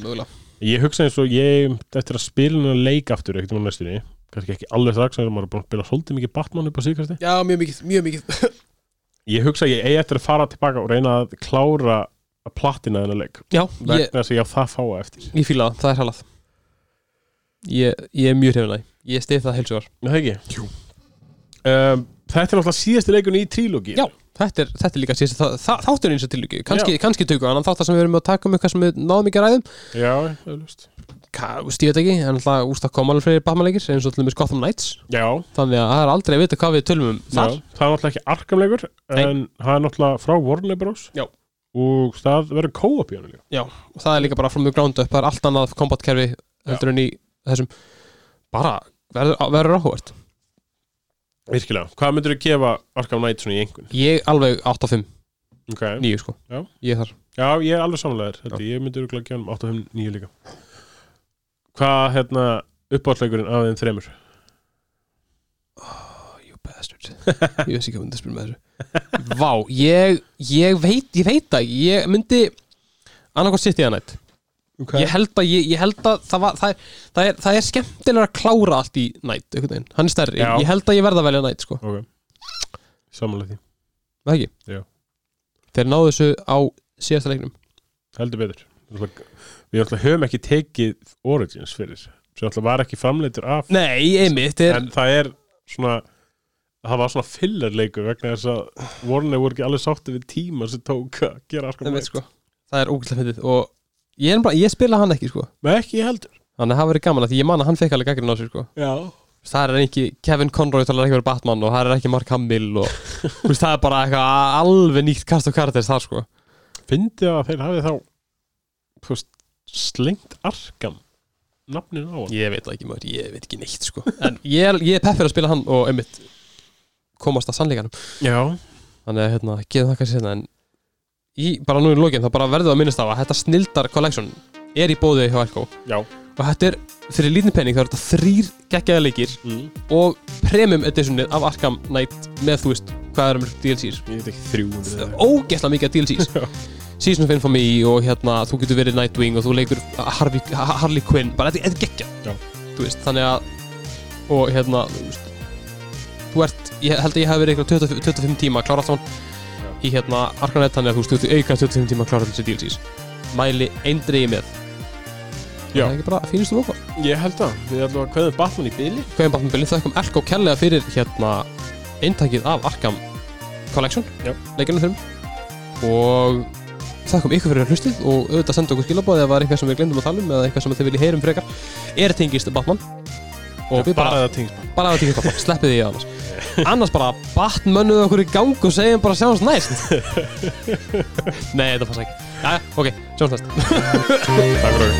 S1: mögulega
S2: Ég hugsa eins og ég eftir að spila hennar leik aftur ekkert um næstunni, kannski ekki alveg strax en maður er búin að spila svolítið mikið Batman upp á síðkasti
S1: Já, mjög mikið, mjög mikið
S2: Ég hugsa að ég eigi eftir að fara tilbaka og reyna að klára að platina hennar leik
S1: Já,
S2: vegna
S1: ég,
S2: þess að ég á það fáa eftir
S1: ég fíla það, það er halað Ég, ég er mjög hrefinlega Ég stið það heilsugar
S2: Nú það ekki? Jú um, Þetta er náttúrulega síðasti leikunni í trílógi
S1: Já, þetta er, þetta er líka síðast það, það, Þáttur eins og tilíki, kannski, kannski tökum við annan þáttar sem við erum að taka um eitthvað sem við náðum ekki að ræðum
S2: Já, það er lust
S1: Ka- úst, ég veit ekki, en alltaf úst að koma alveg fyrir Batmanleikir eins og til með Gotham Knights
S2: Já,
S1: Þannig að það er aldrei að vita hvað við tölum um
S2: já,
S1: þar
S2: það er náttúrulega ekki arkamleikur en það er náttúrulega frá Warner Bros
S1: Já.
S2: og það verður co-op í hann líka
S1: og það er líka bara from the ground up, það er allt annað kombatkerfi heldur en í þessum bara verður, verður áhugvart
S2: Virkilega, hvað myndir þú gefa Arkham Knight svona í engun?
S1: Ég alveg 8 og 5,
S2: Okay.
S1: 9 sko
S2: Já.
S1: Ég er þar
S2: Já, ég er alveg samlegaður Þetta, ég myndi örgulega gefa hann 8-5-9 líka Hvað, hérna, uppáðsleikurinn af þeim þremur?
S1: Oh, You bastard Ég veist ekki hvað myndi að spyrja með þessu Vá, ég, ég veit, ég veit það ekki. Ég myndi annarkvæmt sitt í það nætt
S2: Okay.
S1: Ég held að, ég, ég held að það, var, það, er, það, er, það er skemmtilega að klára allt í nætt einhvern veginn, hann er stærri,
S2: Já.
S1: ég held að ég verða að velja nætt sko,
S2: Ok, samanlega því
S1: það ekki
S2: Já.
S1: Þeir náðu þessu á síðasta leiknum
S2: Heldur betur Náttúrulega- Við alltaf höfum ekki tekið Origins fyrir Svo alltaf var ekki framleitur af
S1: Nei, einmitt, þeir,
S2: En það er svona Það var svona fillerleikur vegna þess að Warner voru ekki alveg sátti við tíma sem tók að gera Arkham
S1: einmitt
S2: Knight
S1: sko það er ógæslega fyndið og ég, er bara, ég spila hann ekki sko
S2: Nei, ekki ég heldur
S1: Þannig að það hafa verið gaman að því ég man að hann fekk alveg gaggrinn á sig sko
S2: Já
S1: það er ekki Kevin Conroy talar ekki verið Batman og það er ekki Mark Hamill og þú veist, það er bara eitthvað alveg nýtt kast og karakter þar sko
S2: fyndi að þeir hafi þá þú veist, slengt Arkham nafnin á hann
S1: Ég veit það ekki maður, ég veit ekki neitt sko En ég er, ég er peppir að spila hann og einmitt komast að sannleikanum
S2: Já,
S1: Þannig að hérna, geðum það kannski hérna En í, bara nú í lokin, þá bara verðum við að minnast á að þetta snildar collection er í bóði hjá Elko
S2: já
S1: og þetta er fyrir lítinn penning þá er þetta þrýr geggjaða leikir
S2: mm.
S1: og premium editionið af Arkham Knight með þú veist hvað er um DLCs
S2: Ég veit ekki 300 eða eitthvað.
S1: ógeðslega mikið af DLCs
S2: Já.
S1: Season of Infamy og hérna þú getur verið Nightwing og þú leikur Harvey, Ha- Harley Quinn bara þetta þetta er
S2: Já.
S1: geggja þú veist þannig að og hérna þú veist þú ert ég held að ég hef verið eitthvað 25 25 tíma að klára allt
S2: Já.
S1: saman í hérna Arkham Knight þannig að þú veist þú ert auka 25 tíma að klára þessi DLCs mæli eindriði með það
S2: Já.
S1: er ekki bara fínustu vokal
S2: Ég held að, við ætlum að kveðum Batman í byli
S1: Gauðin Batmanbili, þakkum Elko Kellega fyrir hérna eintakið af Arkham Collection,
S2: Já.
S1: leikinu þurrum og þakkum ykkur fyrir hlustið og auðvitað senda okkur skilabóð eða var eitthvað sem við glemdum að tala um eða eitthvað sem þið viljið heyrum frekar er tengist Batman og við bara,
S2: Bara það tengst
S1: bara, bara að tengist Batman, sleppið því annars annars bara Batmanuð okkur í gang og segjum bara sjáumst næst Nei, þetta passa ekki Jæja, ok, sjáumst næst
S2: Takk fyrir okkur